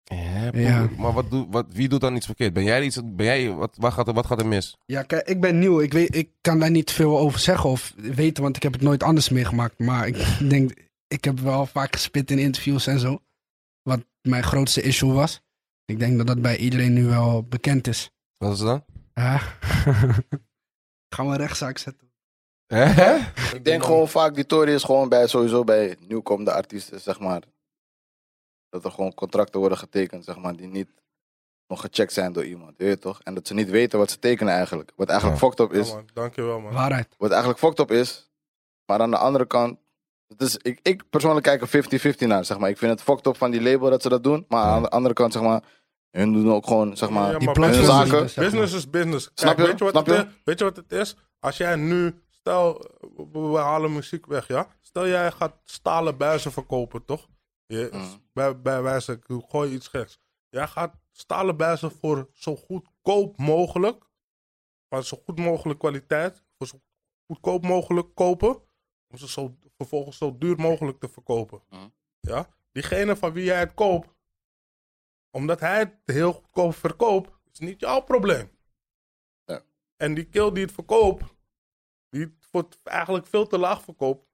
Ja, Ja. broer. Maar wat doe, wat, wie doet dan iets verkeerd? Ben jij iets, ben jij, wat, wat, gaat er, wat gaat er mis? Ja, kijk, ik ben nieuw. Ik, weet, ik kan daar niet veel over zeggen of weten, want ik heb het nooit anders meegemaakt. Maar ik denk, ik heb wel vaak gespit in interviews en zo. Wat mijn grootste issue was. Ik denk dat dat bij iedereen nu wel bekend is. Wat is het dan? Ja. Gaan we een rechtszaak zetten. Hè? Ik denk gewoon vaak, die tory is gewoon bij, sowieso bij nieuwkomende artiesten, zeg maar. Dat er gewoon contracten worden getekend, zeg maar, die niet nog gecheckt zijn door iemand, je weet toch? En dat ze niet weten wat ze tekenen eigenlijk. Wat eigenlijk Ja. fucked up is. Ja, man, dankjewel, man. Waarheid. wat eigenlijk fucked up is. Maar aan de andere kant. Het is, ik, ik persoonlijk kijk er 50-50 naar, zeg maar. Ik vind het fucked up van die label dat ze dat doen. Maar aan de andere kant, zeg maar. Hun doen ook gewoon, zeg maar. Ja, Die maar platform business- zaken- zeg maar. Business is business. Kijk, Snap je? Weet je, wat Snap het je? Is, weet je wat het is? Als jij nu, stel, we, we halen muziek weg, ja? Stel jij gaat stalen buizen verkopen, toch? Je, Mm. bij, bij wijze, ik gooi iets geks. Jij gaat stalen buizen voor zo goedkoop mogelijk, van zo goed mogelijk kwaliteit, voor zo goedkoop mogelijk kopen, om ze zo, vervolgens zo duur mogelijk te verkopen. Mm. Ja? Diegene van wie jij het koopt, omdat hij het heel goedkoop verkoopt, is niet jouw probleem. Ja. En die kill die het verkoopt, die het voor het eigenlijk veel te laag verkoopt,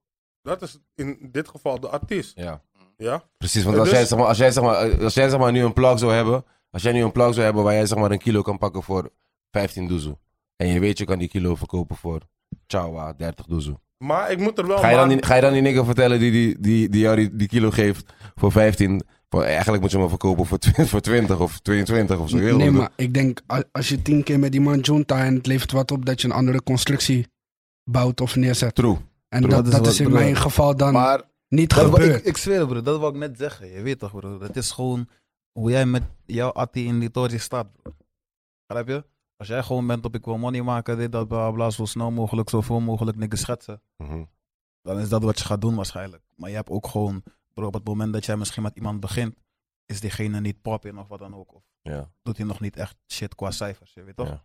dat is in dit geval de artiest. Ja. Ja? Precies, want als, Dus- jij, zeg maar, als, jij, zeg maar, eh, als jij zeg maar, nu een plug zou hebben, als jij nu een plug zou hebben waar jij zeg maar, een kilo kan pakken voor 15 doezel. En je weet je kan die kilo verkopen voor chawa 30 doezel. Maar ik moet er wel. Ga je dan maar- die, ga je dan die nigger vertellen die, die, die, die jou die, die kilo geeft voor 15? Voor, eigenlijk moet je hem wel verkopen voor, 20 voor 20 of 22 of zo. Heel Nee, goed. maar ik denk, a- als je tien keer met die man junta en het levert wat op, dat je een andere constructie bouwt of neerzet. True. En True. dat, Dat is dat wat is in bedoel- mijn geval dan Maar niet Dat wou- ik, gebeurd. ik zweer, het, broer, dat wil ik net zeggen. Je weet toch, broer. Het is gewoon hoe jij met jouw Atti in die toren staat, broer. Begrijp je? Als jij gewoon bent op ik wil money maken, dit, dat, bla, bla, zo snel mogelijk, zoveel mogelijk niks schetsen. Mhm. dan is dat wat je gaat doen waarschijnlijk. Maar je hebt ook gewoon, bro, op het moment dat jij misschien met iemand begint, is diegene niet pop in of wat dan ook. Of Ja. doet hij nog niet echt shit qua cijfers, je weet toch? Ja.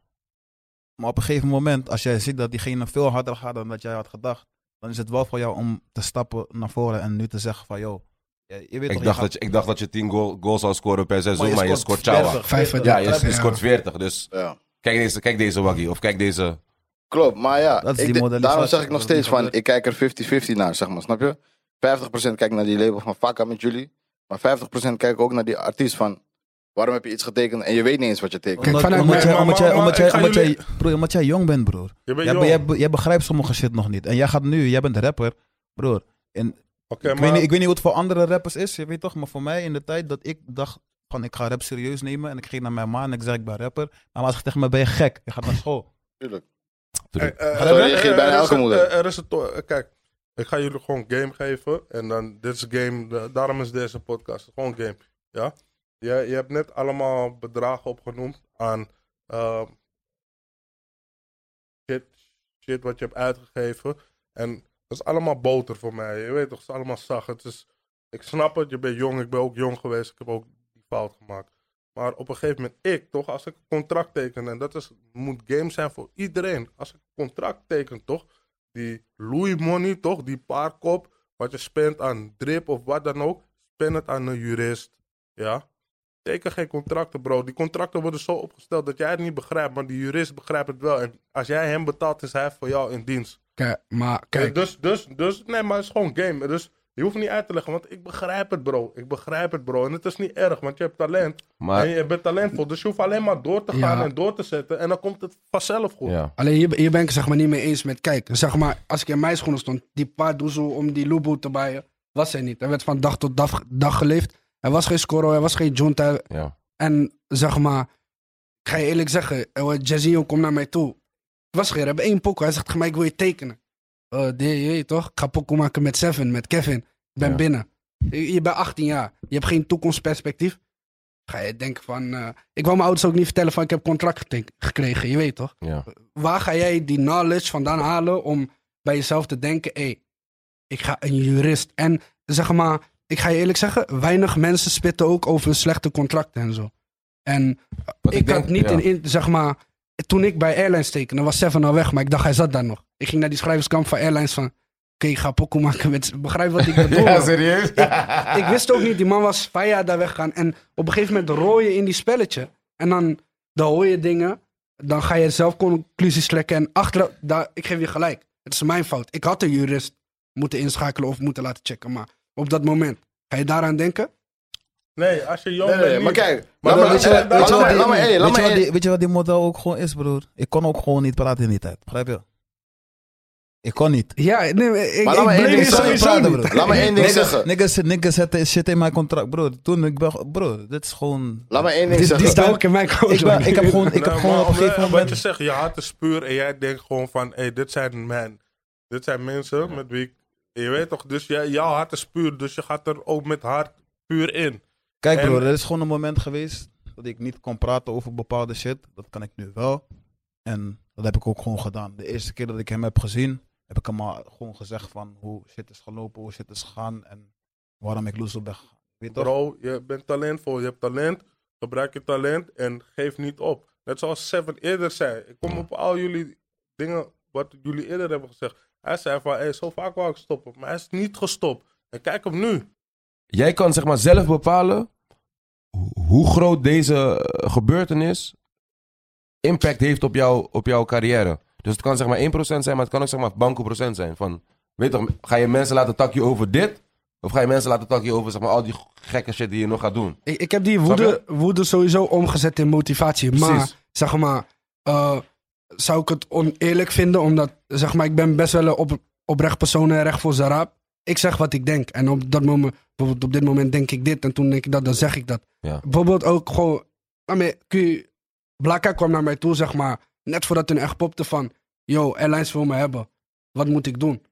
Maar op een gegeven moment, als jij ziet dat diegene veel harder gaat dan dat jij had gedacht, dan is het wel voor jou om te stappen naar voren en nu te zeggen van, joh, je, je weet toch, Ik, je dacht gaat- dat je, ik dacht dat je 10 goal, goals zou scoren per seizoen, maar je scoort chawa. 40, Vijf- 40. Ja, je, je Ja. scoort 40. Dus ja, kijk deze, kijk deze waggie of kijk deze. klopt. Maar ja, Dat is ik die de- modalisatie, daarom zeg ik dat nog is steeds niet van, gebeurd. ik kijk er 50-50 naar, zeg maar, snap je? 50% kijk naar die label van Faka met jullie. Maar 50% kijk ook naar die artiest van, waarom heb je iets getekend en je weet niet eens wat je tekent. Kijk, Omdat- vanuit omdat mij- jij- maar- omdat maar- jij- maar omdat ik jij- ga omdat jullie- jij- broer, Omdat jij jong bent, broer. Je bent Jij, jong. be- jij, be- jij begrijpt sommige shit nog niet. En jij gaat nu, jij bent rapper, broer. En Oké, Eh, ik, maar weet niet, ik weet niet hoe het voor andere rappers is, je weet toch? Maar voor mij in de tijd dat ik dacht van ik ga rap serieus nemen en ik ging naar mijn ma en ik zei ik ben rapper. Mijn ma zegt tegen me ben je gek, je gaat naar school. Tuurlijk. Eh, eh, Zo eh, reageert eh, bijna er is elke een- moeder. eh, Er is een to- eh, Kijk, ik ga jullie gewoon game geven. En dan, dit is game, de- daarom is deze podcast. Gewoon game. Ja? Je, je hebt net allemaal bedragen opgenoemd aan eh, shit, shit wat je hebt uitgegeven. En dat is allemaal boter voor mij. Je weet toch, het is allemaal zacht. Het is, ik snap het, je bent jong. Ik ben ook jong geweest. Ik heb ook die fout gemaakt. Maar op een gegeven moment, ik toch, als ik een contract teken, en dat is, moet game zijn voor iedereen. Als ik een contract teken, toch, die loei money, toch, die paarkop, wat je spendt aan drip of wat dan ook, spend het aan een jurist. Ja? Teken geen contracten, bro. Die contracten worden zo opgesteld dat jij het niet begrijpt, maar die jurist begrijpt het wel. En als jij hem betaalt, is hij voor jou in dienst. Kijk, maar Kijk. kijk, Dus, dus, dus, nee, maar het is gewoon game. Dus je hoeft niet uit te leggen, want ik begrijp het, bro. Ik begrijp het, bro. En het is niet erg, want je hebt talent. Maar, En je bent talentvol, dus je hoeft alleen maar door te Ja. gaan en door te zetten. En dan komt het vanzelf goed. ja. Alleen hier, hier ben ik het zeg maar niet mee eens met kijk. Zeg maar, als ik in mijn schoenen stond, die paar doezel om die Lubu te bijen, was hij niet. Er werd van dag tot dag, dag geleefd. Er was geen Scorro, er was geen Junta. Ja. En zeg maar, ik ga je eerlijk zeggen, eh, Jazinho komt naar mij toe. Het was geen, we hebben één pokoe. Hij zegt tegen mij, ik wil je tekenen. Eh die, je weet toch? Ik ga pokoe maken met Seven, met Kevin. Ik ben Ja. binnen. Je, je bent 18 jaar. Je hebt geen toekomstperspectief. Ga je denken van... eh, ik wou mijn ouders ook niet vertellen van ik heb contract gete- gekregen. Je weet toch? Ja. waar ga jij die knowledge vandaan halen om bij jezelf te denken, hé, ik ga een jurist. En zeg maar, ik ga je eerlijk zeggen, weinig mensen spitten ook over slechte contracten en zo. En Wat ik, denk- had niet ja. in, in- zeg maar, toen ik bij Airlines tekende, was Seven al weg, maar ik dacht hij zat daar nog. Ik ging naar die schrijverskamp van Airlines van, ik ga pokoe maken met... Begrijp wat ik bedoel? Ja, man. serieus? ik wist ook niet, die man was vijf jaar daar weggegaan. En op een gegeven moment rooi je in die spelletje. En dan, dan hoor je dingen. Dan ga je zelf conclusies trekken. En achteraf, daar, ik geef je gelijk. Het is mijn fout. Ik had een jurist moeten inschakelen of moeten laten checken. Maar op dat moment, ga je daaraan denken? Nee, als je jong Nee, nee, bent. maar niet. kijk. Maar- dan- maar weet je- eh, weet je laat wat me- die- laat me- hey, laat weet, je me- wat die, weet je wat die model ook gewoon is, broer? Ik kon ook gewoon niet praten in die tijd. Begrijp je? Ik kon niet. Ja, nee, ik, Maar laat ik blame me één ding je zeggen. sowieso Praten, niet. broer. Laat me één ding Niggas- zeggen. Niggas niggas zetten shit in mijn contract, broer. Toen ik ben... Broer, dit is gewoon... Laat me één Dit- ding dit is Die zeggen. staat ook in mijn coach. Ik, ben, ik heb gewoon, ik heb Nee, Nou, gewoon maar op een omdat- gegeven Wat je moment... zegt, je hart is puur en jij denkt gewoon van, hé, dit zijn men. Dit zijn mensen met wie ik... Je weet toch, dus jij, jouw hart is puur, dus je gaat er ook met hart puur in. Kijk En- broer, er is gewoon een moment geweest dat ik niet kon praten over bepaalde shit. Dat kan ik nu wel. En dat heb ik ook gewoon gedaan. De eerste keer dat ik hem heb gezien, heb ik hem al gewoon gezegd van hoe shit is gelopen, hoe shit is gegaan en waarom ik loes op ben gegaan. Weet je toch? Bro, je bent talentvol, je hebt talent, gebruik je talent en geef niet op. Net zoals Seven eerder zei, ik kom op al jullie dingen wat jullie eerder hebben gezegd. Hij zei van, hé, zo vaak wou ik stoppen, maar hij is niet gestopt. En kijk hem nu. Jij kan zeg maar zelf bepalen ho- hoe groot deze eh, gebeurtenis impact heeft op, jou, op jouw carrière. Dus het kan zeg maar 1% zijn, maar het kan ook zeg maar banko procent zijn. Van, weet toch, ga je mensen laten takje over dit? Of ga je mensen laten takje over zeg maar, al die gekke shit die je nog gaat doen? Ik, ik heb die Snap je? woede, woede sowieso omgezet in motivatie. Precies. Maar zeg maar, eh, zou ik het oneerlijk vinden? Omdat zeg maar, ik ben best wel een op, oprecht persoon en recht voor zijn raap. Ik zeg wat ik denk. En op dat moment, bijvoorbeeld op dit moment denk ik dit en toen denk ik dat, dan zeg ik dat. Ja. Bijvoorbeeld ook gewoon, daarmee kun je- Blakka kwam naar mij toe, zeg maar, net voordat hij echt popte van, yo, Airlines wil me hebben. Wat moet ik doen?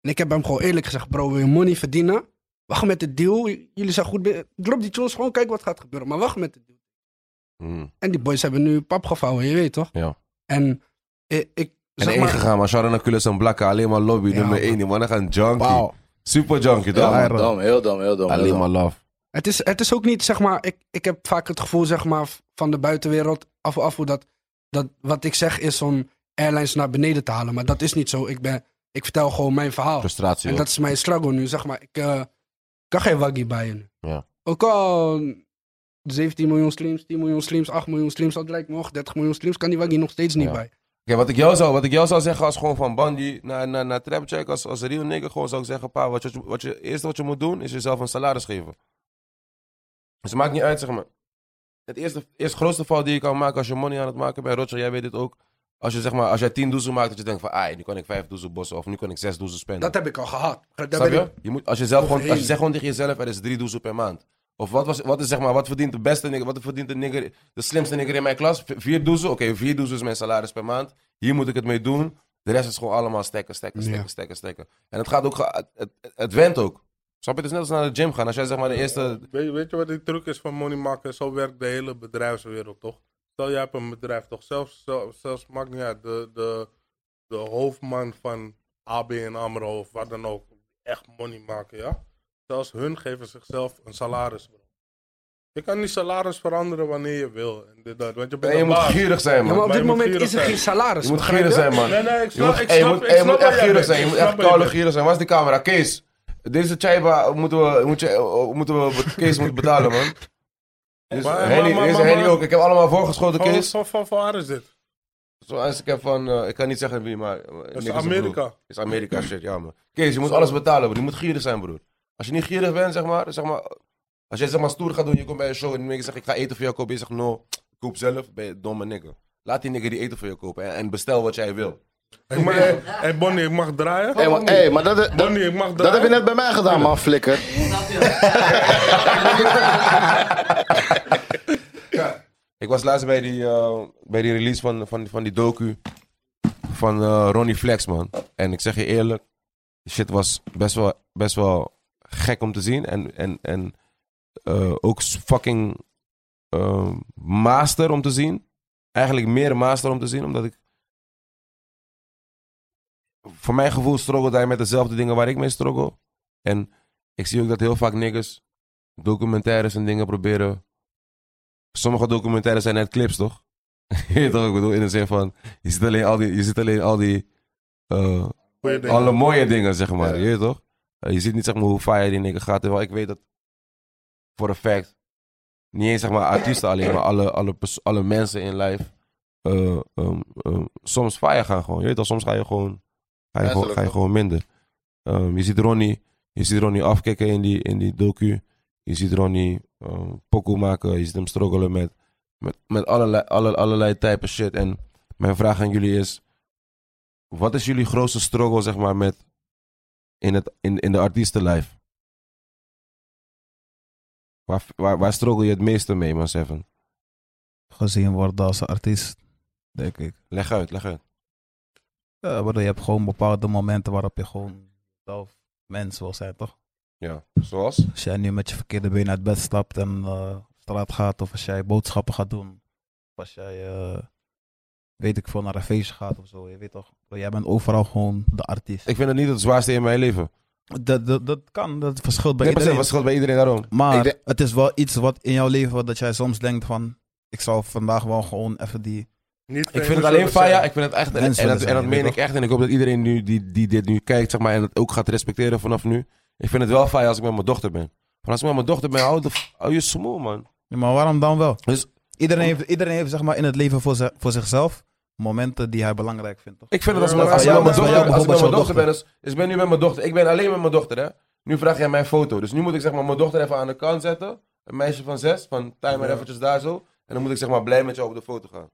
En ik heb hem gewoon eerlijk gezegd, bro, wil je money verdienen? Wacht met de deal. J- Jullie zijn goed. be- Drop die tunes gewoon, kijk wat gaat gebeuren. Maar wacht met de deal. Mm. En die boys hebben nu pap gevouwen, je weet toch? Ja. En ik, ik En zeg maar, ingegaan, maar Sharon Aculus en Blakka, alleen maar lobby, Ja, nummer man. 1. Die mannen gaan junkie. Super junkie, toch? Dom, Ja, dom, dom, heel dom, heel dom. heel alleen dom. maar love. het, is, het is ook niet, zeg maar, ik, ik heb vaak het gevoel, zeg maar, v- van de buitenwereld af en af hoe dat, dat wat ik zeg is om airlines naar beneden te halen. Maar dat is niet zo. Ik, ben, ik vertel gewoon mijn verhaal. Frustratie. En hoor. dat is mijn struggle nu, zeg maar. Ik eh, kan geen waggy bijen nu. Ja. Ook al 17 miljoen streams, 10 miljoen streams, 8 miljoen streams, dat lijkt me nog 30 miljoen streams, kan die waggy nog steeds niet Ja. bij. Kijk, wat ik jou zou, wat ik jou zou zeggen als gewoon van Bandy naar, naar, naar Trapcheck, als, als real nigger, gewoon zou ik zeggen, pa, wat je, wat je, eerste wat je moet doen, is jezelf een salaris geven. Dus het maakt niet uit, zeg maar. Het eerste, eerst grootste fout die je kan maken als je money aan het maken bent, Roger, jij weet dit ook. Als, je, zeg maar, als jij tien doezel maakt, dat je denkt van, ah, nu kan ik vijf doezel bossen, of nu kan ik zes doezel spenden. Dat heb ik al gehad. Daar Snap ben je? ik, je moet, als, je zelf gewoon, als je Overheen. zegt gewoon tegen jezelf, er is drie doezel per maand. Of wat, was, wat, is, zeg maar, wat verdient de beste nigger, wat verdient de nigger, de slimste nigger in mijn klas? V- Vier doezel? Oké, vier doezel is mijn salaris per maand. Hier moet ik het mee doen. De rest is gewoon allemaal stekken, stekken, stekken, Ja. stekken, stekken. En het gaat ook, ge- het, het, het went ook. Snap je? Het is net als naar de gym gaan. Als jij zeg maar de eerste... Weet, je- weet je wat die truc is van money maken? Zo werkt de hele bedrijfswereld, toch? Stel, jij hebt een bedrijf, toch? Zelfs, zelf- zelfs maakt niet uit, de, de, de hoofdman van AB en AMRO of wat dan ook, echt money maken, ja? Zelfs hun geven zichzelf een salaris, bro. Je kan die salaris veranderen wanneer je wil. En dit, dat, want je bent Nee, je een moet baas. gierig zijn, Ja, maar man. op Maar dit je moet moment gierig is er zijn. geen salaris. Je moet begrijp gierig zijn, man. Nee, nee, ik Je moet, snap, ik hey, je snap, moet- ik hey, je snap moet waar echt jij bent. gierig zijn. Je Ik moet echt snap waar koude jij gierig zijn. Waar is die camera? Kees, deze Chaiba moeten we, moet je, eh, moeten we, Kees moet betalen, man. Dus Maar- maar- Henny, maar- deze maar- Henny maar- ook. Ik heb allemaal voorgeschoten, bent. Kees. Van, van, van waar is dit? Zoals ik heb van, eh, ik kan niet zeggen wie, maar... eh, Dat is niks een broer. Amerika. is Amerika shit, ja man. Kees, je moet alles betalen, broer. Je moet gierig zijn, broer. Als je niet gierig bent, zeg maar, zeg maar als jij zeg maar stoer gaat doen, je komt bij een show en die nigger zegt, ik ga eten voor jou kopen. Je zegt, no, ik koop zelf, ben je een domme nigger. Laat die nigger die eten voor je kopen en, en bestel wat jij wil. Hé, maar- hé, hé, Bonnie, ik mag draaien? Hé, maar, hey, maar dat, dat, Bonnie, ik mag draaien? dat heb je net bij mij gedaan, man, flikker. Ik was laatst bij die, eh, bij die release van, van, van die docu van eh, Ronnie Flex, man. En ik zeg je eerlijk, die shit was best wel, best wel gek om te zien. En, en, en eh, ook s- fucking eh, master om te zien. Eigenlijk meer master om te zien, omdat ik... Voor mijn gevoel struggelt hij met dezelfde dingen waar ik mee struggle. En ik zie ook dat heel vaak niggas documentaires en dingen proberen sommige documentaires zijn net clips, toch? je weet toch wat ik bedoel? In de zin van, je ziet alleen al die, je ziet alleen al die eh, Goeie dingen. Alle mooie dingen, zeg maar. Ja. Je weet toch? Eh, je ziet niet zeg maar, hoe fire die nigger gaat. Terwijl ik weet dat voor een fact. Niet eens zeg maar artiesten alleen, maar alle, alle, pers- alle mensen in live. eh, ehm, ehm, soms fire gaan gewoon. Je weet toch, soms ga je gewoon, ga je gewoon, Menselijk, ga je toch? gewoon minder. Ehm, je ziet Ronnie, je ziet Ronnie afkicken in die, in die docu. Je ziet Ronnie ehm pokoe maken. Je ziet hem struggelen met, met, met allerlei, alle, allerlei typen shit. En mijn vraag aan jullie is: wat is jullie grootste struggle, zeg maar, met in, het, in, in de artiestenlijf? Waar, waar, waar struggle je het meeste mee, man Seven? Gezien worden als artiest, denk ik. Leg uit, leg uit. Ja, waardoor je hebt gewoon bepaalde momenten waarop je gewoon zelf mens wil zijn, toch? Ja, zoals? Als jij Dus nu met je verkeerde been uit bed stapt en eh, op straat gaat, of als jij boodschappen gaat doen, of als jij, eh, weet ik veel, naar een feestje gaat of zo, je weet toch? Jij bent overal gewoon de artiest. Ik vind het niet het zwaarste in mijn leven. Dat, dat, dat kan, dat verschilt bij Nee, precies, iedereen. wat scheelt bij iedereen daarom? Maar Ik denk- het is wel iets wat in jouw leven, dat jij soms denkt van, ik zou vandaag wel gewoon even die Niet Ik vind famous het alleen willen zijn. fire. Ik vind het echt. En, en, Mensen willen dat, en zijn, dat je meen weet ik echt. En ik hoop dat iedereen nu die, die dit nu kijkt, zeg maar, en het ook gaat respecteren vanaf nu. Ik vind het wel fire als ik met mijn dochter ben. Maar als ik met mijn dochter ben, hou, de, hou je smoel, man. Ja, maar waarom dan wel? Dus- iedereen, heeft, iedereen heeft zeg maar, in het leven voor, zi- voor zichzelf momenten die hij belangrijk vindt. Toch? Ik vind het als, Ja, maar als, ik bij met jou- mijn bij dochter, jou als ik met mijn bijvoorbeeld dochter jouw ben, dus, dus ik ben nu met mijn dochter. Ik ben alleen met mijn dochter, hè. Nu vraag jij mijn foto. Dus nu moet ik zeg maar mijn dochter even aan de kant zetten. Een meisje van zes, van time maar eventjes daar zo. En dan moet ik zeg maar blij met jou op de foto gaan.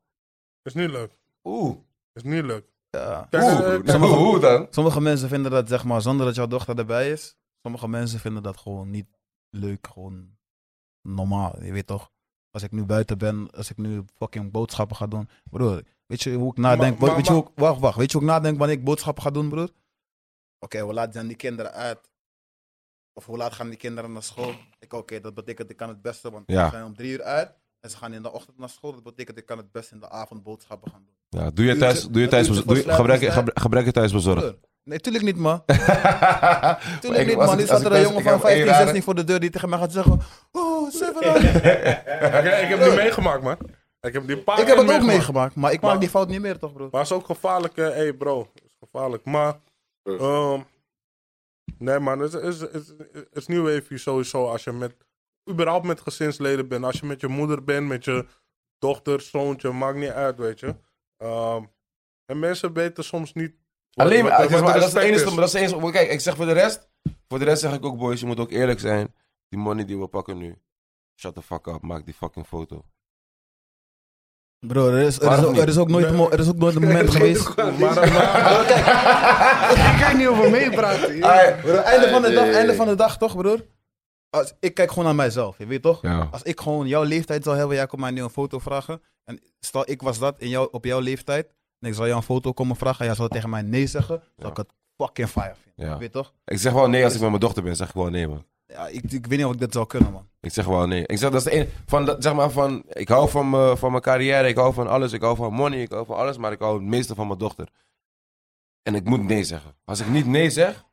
Is niet leuk. Oeh. Is niet leuk. Ja. Kijk, eh, Oeh, kijk, Nou, sommige- hoe dan? Sommige mensen vinden dat zeg maar, zonder dat jouw dochter erbij is. Sommige mensen vinden dat gewoon niet leuk, gewoon normaal. Je weet toch? Als ik nu buiten ben, als ik nu fucking boodschappen ga doen. Broer, weet je hoe ik nadenk? maar- weet je maar- hoe ik- wacht, wacht. Weet je hoe ik nadenk wanneer ik boodschappen ga doen, broer? Oké, hoe laat zijn die kinderen uit? Of hoe laat gaan die kinderen naar school? Ik, oké, dat betekent ik kan het beste, want Ja. ze zijn om drie uur uit. En ze gaan in de ochtend naar school. Dat betekent ik kan het best in de avond boodschappen gaan doen. Ja, doe je thuis, doe je thuis, Uurtje- doe je, gebruik, je- gebruik, gebruik je thuisbezorgd. Broer, nee, tuurlijk niet, man. Tuurlijk Tuurlijk niet, man. Nu zat er een jongen van 15, 16 voor de deur die tegen mij gaat zeggen... Oh, Severan. ik, ik heb die meegemaakt, man. Ik heb die paar ik heb keer het ook meegemaakt, maar ik maak die fout niet meer, toch, bro? Maar het is ook gevaarlijk, hé hey bro. Het is gevaarlijk. Maar, Rust. ehm, nee man, het is, het is, het is nieuw even sowieso als je met, überhaupt met gezinsleden bent. Als je met je moeder bent, met je dochter, zoontje, maakt niet uit, weet je. Ehm, en mensen weten soms niet. wat- Alleen wat- maar, wat dat is- de maar dat is het respect enige. dus? maar Dat is het enige. maar Kijk, ik zeg voor de rest. Voor de rest zeg ik ook, boys, je moet ook eerlijk zijn. Die money die we pakken nu. Shut the fuck up, maak die fucking foto. Bro, er is, er is, Waarom ook- er is ook nooit een mo- er is ook nooit een moment geweest... Maar, maar- Ik kan niet over meepraten. Bro, einde, van de dag, einde van de dag, toch, broer? Als, ik kijk gewoon naar mijzelf, je weet toch? Ja. Als ik gewoon jouw leeftijd zou hebben, jij komt mij nu een foto vragen. En stel, ik was dat in jou, op jouw leeftijd. En ik zou jou een foto komen vragen en jij zou tegen mij nee zeggen. Zou ik het fucking fire vinden, Ja. je weet toch? Ik zeg wel nee als ik met mijn dochter ben. Zeg ik wel nee, man. Ja, ik, ik weet niet of ik dat zou kunnen, man. Ik zeg wel nee. Ik zeg, dat is de enige. Van, dat- zeg maar, van, ik hou van, me- van mijn carrière, ik hou van alles. Ik hou van money, ik hou van alles. Maar ik hou het meeste van mijn dochter. En ik moet nee zeggen. Als ik niet nee zeg,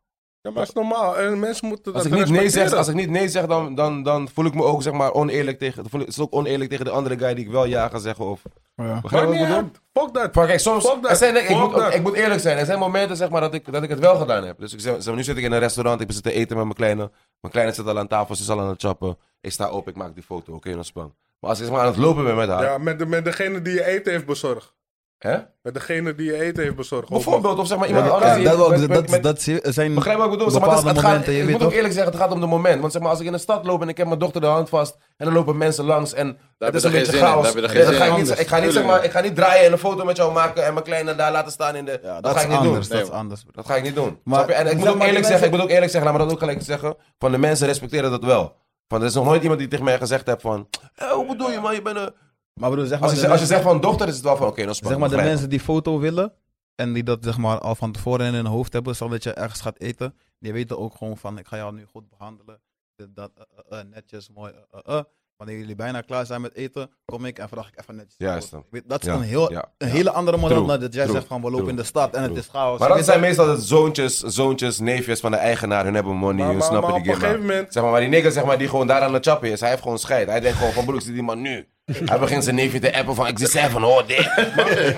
ja, maar het is normaal. En mensen moeten Als dat ik niet nee zeg, respecteren. als ik niet nee zeg dan, dan, dan voel ik me ook zeg maar oneerlijk tegen. Voel, ik- is het ook oneerlijk tegen de andere guy die ik wel ja ga zeggen of. Begrijp Maakt je wat ik niet bedoel? uit. Fuck dat. Maar kijk, soms. Fuck er dat. zijn, ik, ik Fuck moet, ook- dat. ik moet eerlijk zijn. Er zijn momenten zeg maar dat ik, dat ik het wel gedaan heb. Dus ik, zeg, zeg maar, nu zit ik in een restaurant, ik zit te eten met mijn kleine. Mijn kleine zit al aan tafel, ze is al aan het chappen. Ik sta op, ik maak die foto, oké, dan spam. Maar als ik zeg maar aan het lopen ben met haar. Ja, met, de, met degene die je eten heeft bezorgd. Hè? Met degene die je eten heeft bezorgd. Bijvoorbeeld, of zeg maar iemand Ja, anders. die- dat, wou ik- met- dat, met- met- dat, zijn Begrijp wat ik bedoel? Zeg maar, bepaalde het is- het momenten, gaat, je ik weet moet ook toch? eerlijk zeggen, het gaat om de moment. Want zeg maar, als ik in de stad loop en ik heb mijn dochter de hand vast en dan lopen mensen langs en dat heb is je een er geen beetje zin in, chaos. daar heb je er Ja, geen dat zin ga ik in. niet- Ik ga niet, zeg maar, ik ga niet draaien en een foto met jou maken en mijn kleine daar laten staan in de... dat, Dat ga is ik niet anders, doen. dat is anders. bro. Dat ga ik niet doen. Maar- Snap je? en ik zeg moet ook maar, eerlijk de zeggen, ik mensen- moet ook eerlijk zeggen, laat me dat ook gelijk zeggen, van de mensen respecteren dat wel. Van, er is nog nooit iemand die tegen mij gezegd heeft van, "Hé, hoe bedoel je man, je bent een... Maar bedoel, zeg maar, Als de je, als je mensen- zegt van dochter, is het wel van, oké, dan zeg spannend. maar de mensen die foto willen en die dat zeg maar al van tevoren in hun hoofd hebben, zodat je ergens gaat eten, die weten ook gewoon van ik ga jou nu goed behandelen, dit, dat, eh, eh, eh, netjes, mooi, eh, eh, eh. Wanneer jullie bijna klaar zijn met eten, kom ik en vraag ik even netjes. Juist foto. dan. Ik weet- Dat is Ja, een, heel, ja, een ja. hele andere model True, dan dat jij true, zegt van we lopen true, in de stad en true. het is Maar chaos. Je dat weet zijn toch? meestal de zoontjes, zoontjes, neefjes van de eigenaar. Hun hebben money, Maar- hun maar- snappen maar die op een game. gegeven moment- Zeg maar, maar die nigger zeg maar, die gewoon daar aan het chappen is, hij heeft gewoon scheid. Hij denkt gewoon van broek, zit die man nu. Hij begint zijn neefje te appen van, ik zie seven, hoor dit.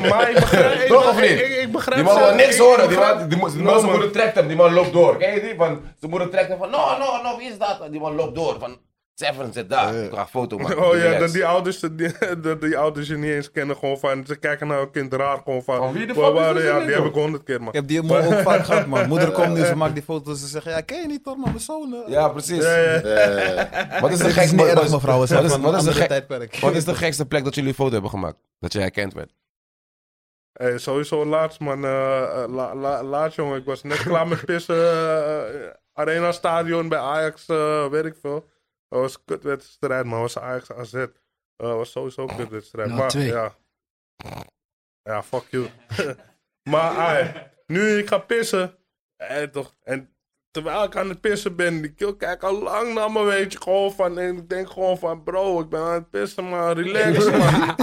Maar ik begrijp... Toch of niet? Ik, ik- ik begrijp Die man wil ze- niks ik- horen. ik Die begrijp- man, die, man- die man, zijn moeder trekt hem. Die man loopt door. Ken je die? Van, zijn moeder trekt hem van, no, no, no, wie is dat? Die man loopt door. Van, Seven zit daar. Ik ga een foto maken. Oh ja, Relax. dat die ouders, dat die, dat die ouders je niet eens kennen gewoon van... Ze kijken naar hun kind raar gewoon van... Van wie de waar fuck is waren- dit nou Ja, kind, die heb joh? ik honderd keer, man. Ik heb die man ook vaak gehad, man. Moeder komt nu, ze maakt die foto's. Ze zegt, ja, ken je niet, toch, man? Mijn zoon. eh." Ja, precies. Ja, ja. Wat is de Dit is gekste niet erg, mevrouw. Ze Wat zijn is, van wat, een is de andere gek- tijdperk. wat is de gekste plek dat jullie een foto hebben gemaakt? Dat jij herkend werd. Hey, sowieso laatst, man. eh, eh, la- la- laatst, jongen. Ik was net klaar met pissen. eh, eh, Arena Stadion bij Ajax, eh weet ik veel. Dat was een kutwedstrijd, man. was Ajax AZ. Eh, was sowieso een kutwedstrijd. Nou, maar twee. ja. Ja, fuck you. maar ai, nu ik ga pissen. eh, toch, en terwijl ik aan het pissen ben, die kill kijkt al lang naar me, weet je. Gewoon van, en ik denk gewoon van, bro, ik ben aan het pissen, maar relax, man.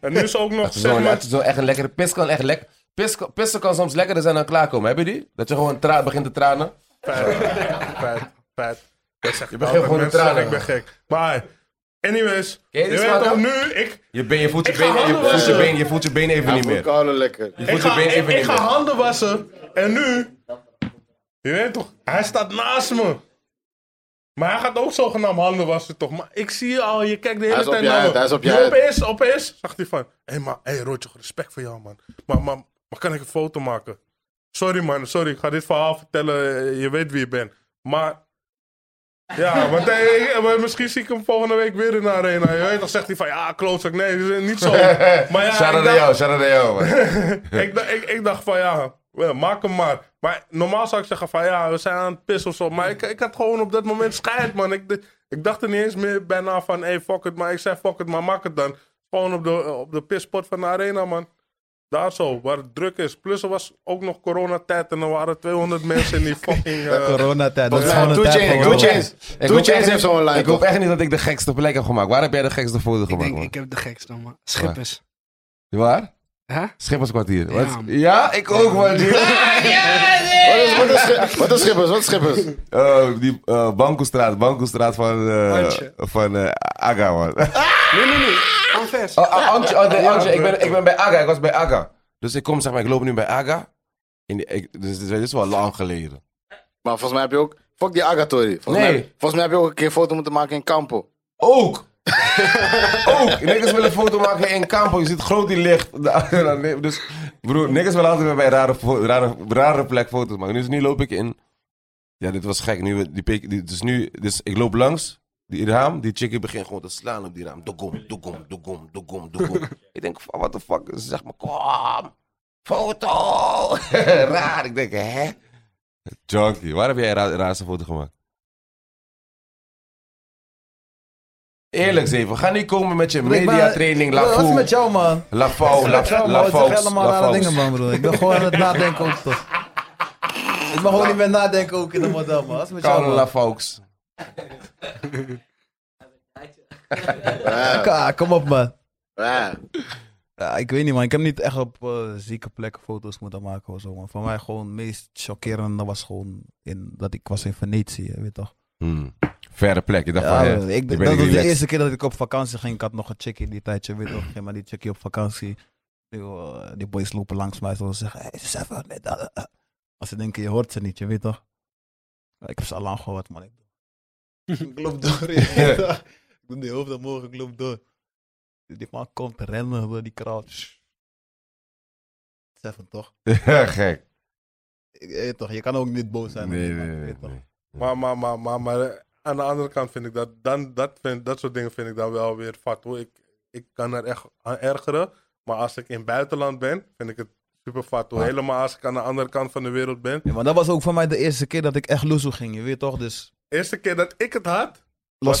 en nu is ook nog, Zo, zeg maar, dat je zo echt een lekkere pis kan echt lekker. Pis, pissen kan soms lekkerder zijn dan klaarkomen. Heb je die? Dat je gewoon tra- begint te tranen. Feit, feit, feit. Dat zeg je begint gewoon te tranen. Ik ben gek. Maar, anyways. Ken je Je die weet smaak, toch, hè? nu, ik, Je, been, je, voelt, je, Ik ga benen, je, handen voelt je, wassen. benen, je voelt je benen even niet Mijn meer. koude lekker. Je ik, voelt je ga, benen ik, even ik niet ga meer. handen wassen. En nu, je weet toch, hij staat naast me. Maar hij gaat ook zogenaamd handen wassen, toch? Maar ik zie je al, je kijkt de hele Hij is op tijd je naar uit, me. hij is op je Nu uit. Opeens, opeens, zag hij van... Hé, maar, hé, Roodje, respect voor jou, man. Maar, maar, maar kan ik een foto maken? Sorry, man, sorry. Ik ga dit verhaal vertellen. eh, Je weet wie je bent. Maar... Ja, want hé, ik- eh, maar misschien zie ik hem volgende week weer in de arena. Je weet, dan zegt hij van... Ja, klootzak, nee, dit is niet zo. Maar ja, Shout ik out dacht- naar jou, shout out naar jou. man. ik, dacht- ik, ik dacht van ja, wel, maak hem maar. Maar normaal zou ik zeggen van ja, we zijn aan het pissen of zo. Maar ik, ik had gewoon op dat moment scheid, man. Ik, d- ik dacht er niet eens meer bijna van, hey, fuck it. Maar ik zei fuck it, maar maak het dan. Gewoon op de, op de pisspot van de arena, man. Daar zo, waar het druk is. Plus er was ook nog coronatijd en er waren 200 mensen in die fucking... eh, Coronatijd. Dat is Ja, gewoon een Two tijd Chainz, van Two corona. Chainz. Ik Two hoop Chainz echt heeft zo'n niet- lijn. Ik hoop toch? echt niet dat ik de gekste plek heb gemaakt. Waar heb jij de gekste foto Ik gemaakt, denk, man? ik heb de gekste, man. Schippers. Waar? Hè? Schipperskwartier. Ja, Wat? man. Ja, ik ook, man. Die, Wat is- wat is Schi- Wat is Schippers? Wat is Schippers? Eh, die eh Bankelstraat, Bankelstraat van, eh Antje. van eh, Aga, man. Ah! Nee, nee, nee. Anvers. Oh, ah, Antje, oh, nee, Antje, ik, ben, ik ben bij Aga, ik was bij Aga. Dus ik kom, zeg maar, ik loop nu bij Aga. In die, ik, dus, dit is wel lang geleden. Maar volgens mij heb je ook... Fuck die Agatori. Volgens, Nee. mij, volgens mij heb je ook een keer een foto moeten maken in Campo. Ook! ook! Niggers willen foto maken in Campo, je ziet groot die licht. dus, broer, niggers willen altijd weer bij rare, fo- rare, rare plek foto's maken. Dus nu loop ik in... Ja, dit was gek. Nu, we- die, pek- die, dus nu, dus ik loop langs, die raam, die chickie begint gewoon te slaan op die raam. Dogom, dogom, dogom, dogom, dogom. ik denk, van, what the fuck? Ze zegt maar, kwam! Foto! Raar. Ik denk, hè? Junkie, waar heb jij een ra- raarste foto gemaakt? Eerlijk, Zeven. Ga niet komen met je Ik ben- mediatraining. La Wat is met Fou, jou, man? La Fou, La Ik zeg Fou, allemaal- La ik zeg allemaal rare Fou. dingen, man, broer. Ik ben gewoon aan het nadenken ook, toch. Ik mag gewoon niet meer nadenken ook in de model, man. Wat is met jou, Koude La man? Fou's. Ja. Ka- Kom op, man. Ja. Ja, ik weet niet, man. Ik heb niet echt op eh, zieke plekken foto's moeten maken of zo, man. Voor mij gewoon het meest chockerende was gewoon in, dat ik was in Venetië, weet je toch? Hmm. Verre plek. Je dacht Ja, van, hè, broer. Oh, ik, je dat bent was niet de relaxed. eerste keer dat ik op vakantie ging. Ik had nog een chickie die tijdje, weet je toch? Ging maar die chickie op vakantie. Die, eh, die boys lopen langs mij zo zeggen, hey, ze zijn wel net dat, eh." Als ze denken, je hoort ze niet, je weet toch? Ja, Ik heb ze al lang gehoord, man. Ik, ik loop door. je weet toch? ik doe die hoofd omhoog, ik loop door. Die man komt rennen door die crowd. Seven, toch? Ja, gek. Je weet toch, je kan ook niet boos zijn. op Nee, iemand, nee, je nee. weet toch? nee. Maar, maar, maar, maar, maar eh, aan de andere kant vind ik dat, dan, dat, vind, dat soort dingen vind ik dan wel weer vat. Hoor. Ik, ik kan er echt aan ergeren, maar als ik in het buitenland ben, vind ik het super vat. Hoor. Ja. Helemaal als ik aan de andere kant van de wereld ben. Ja, maar dat was ook voor mij de eerste keer dat ik echt loezo ging, je weet toch? Dus Eerste keer dat ik het had, los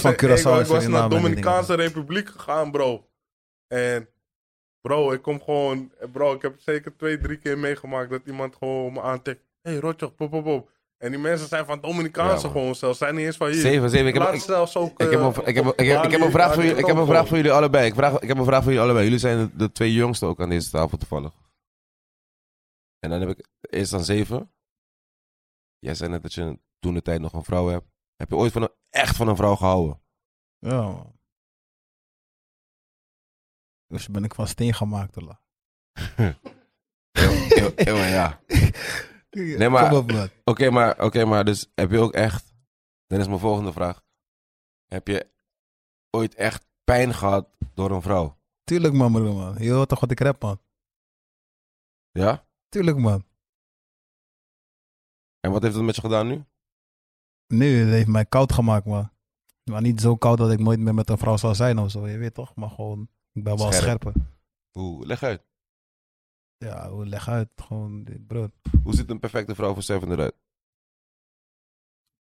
was van ik- Curaçao ik, ik en was Suriname naar de en die dingen. Dominicaanse Republiek gegaan, bro. En bro, ik kom gewoon, eh, bro, ik heb zeker twee, drie keer meegemaakt dat iemand gewoon me aantikt. Hé, hey, Rotjoch, pop, pop, pop. En die mensen zijn van Ja, Dominicaanse man. gewoon zelfs, zijn niet eens van hier. Zeven, zeven. Ik heb, Laat ik, zelfs ook, ik, heb, eh, een- ik, heb, op ik, heb, ik heb Bali een vraag voor aan jullie, ik heb een Rotjoch. vraag voor jullie allebei. Ik, vraag, ik heb een vraag voor jullie allebei. Jullie zijn de, de twee jongsten ook aan deze tafel toevallig. En dan heb ik eerst aan zeven. Jij zei net dat je toen de tijd nog een vrouw hebt. Heb je ooit van een, echt van een vrouw gehouden? Ja, man. Dus ben ik van steen gemaakt, hoor. Eeuw, eeuw, ja. Nee, maar- Kom op, man. Oké, maar, oké, maar dus heb je ook echt... Dan is mijn volgende vraag. Heb je ooit echt pijn gehad door een vrouw? Tuurlijk, man, broer, man. Je hoort toch wat ik rap, man. Ja? Tuurlijk, man. En wat heeft dat met je gedaan nu? Nu, het heeft mij koud gemaakt, man. Maar niet zo koud dat ik nooit meer met een vrouw zou zijn of zo. Je weet toch? Maar gewoon, ik ben wel Scherp. scherper. Hoe, leg uit. Ja, hoe leg uit. Gewoon, dit, broer. Hoe ziet een perfecte vrouw voor Seven eruit?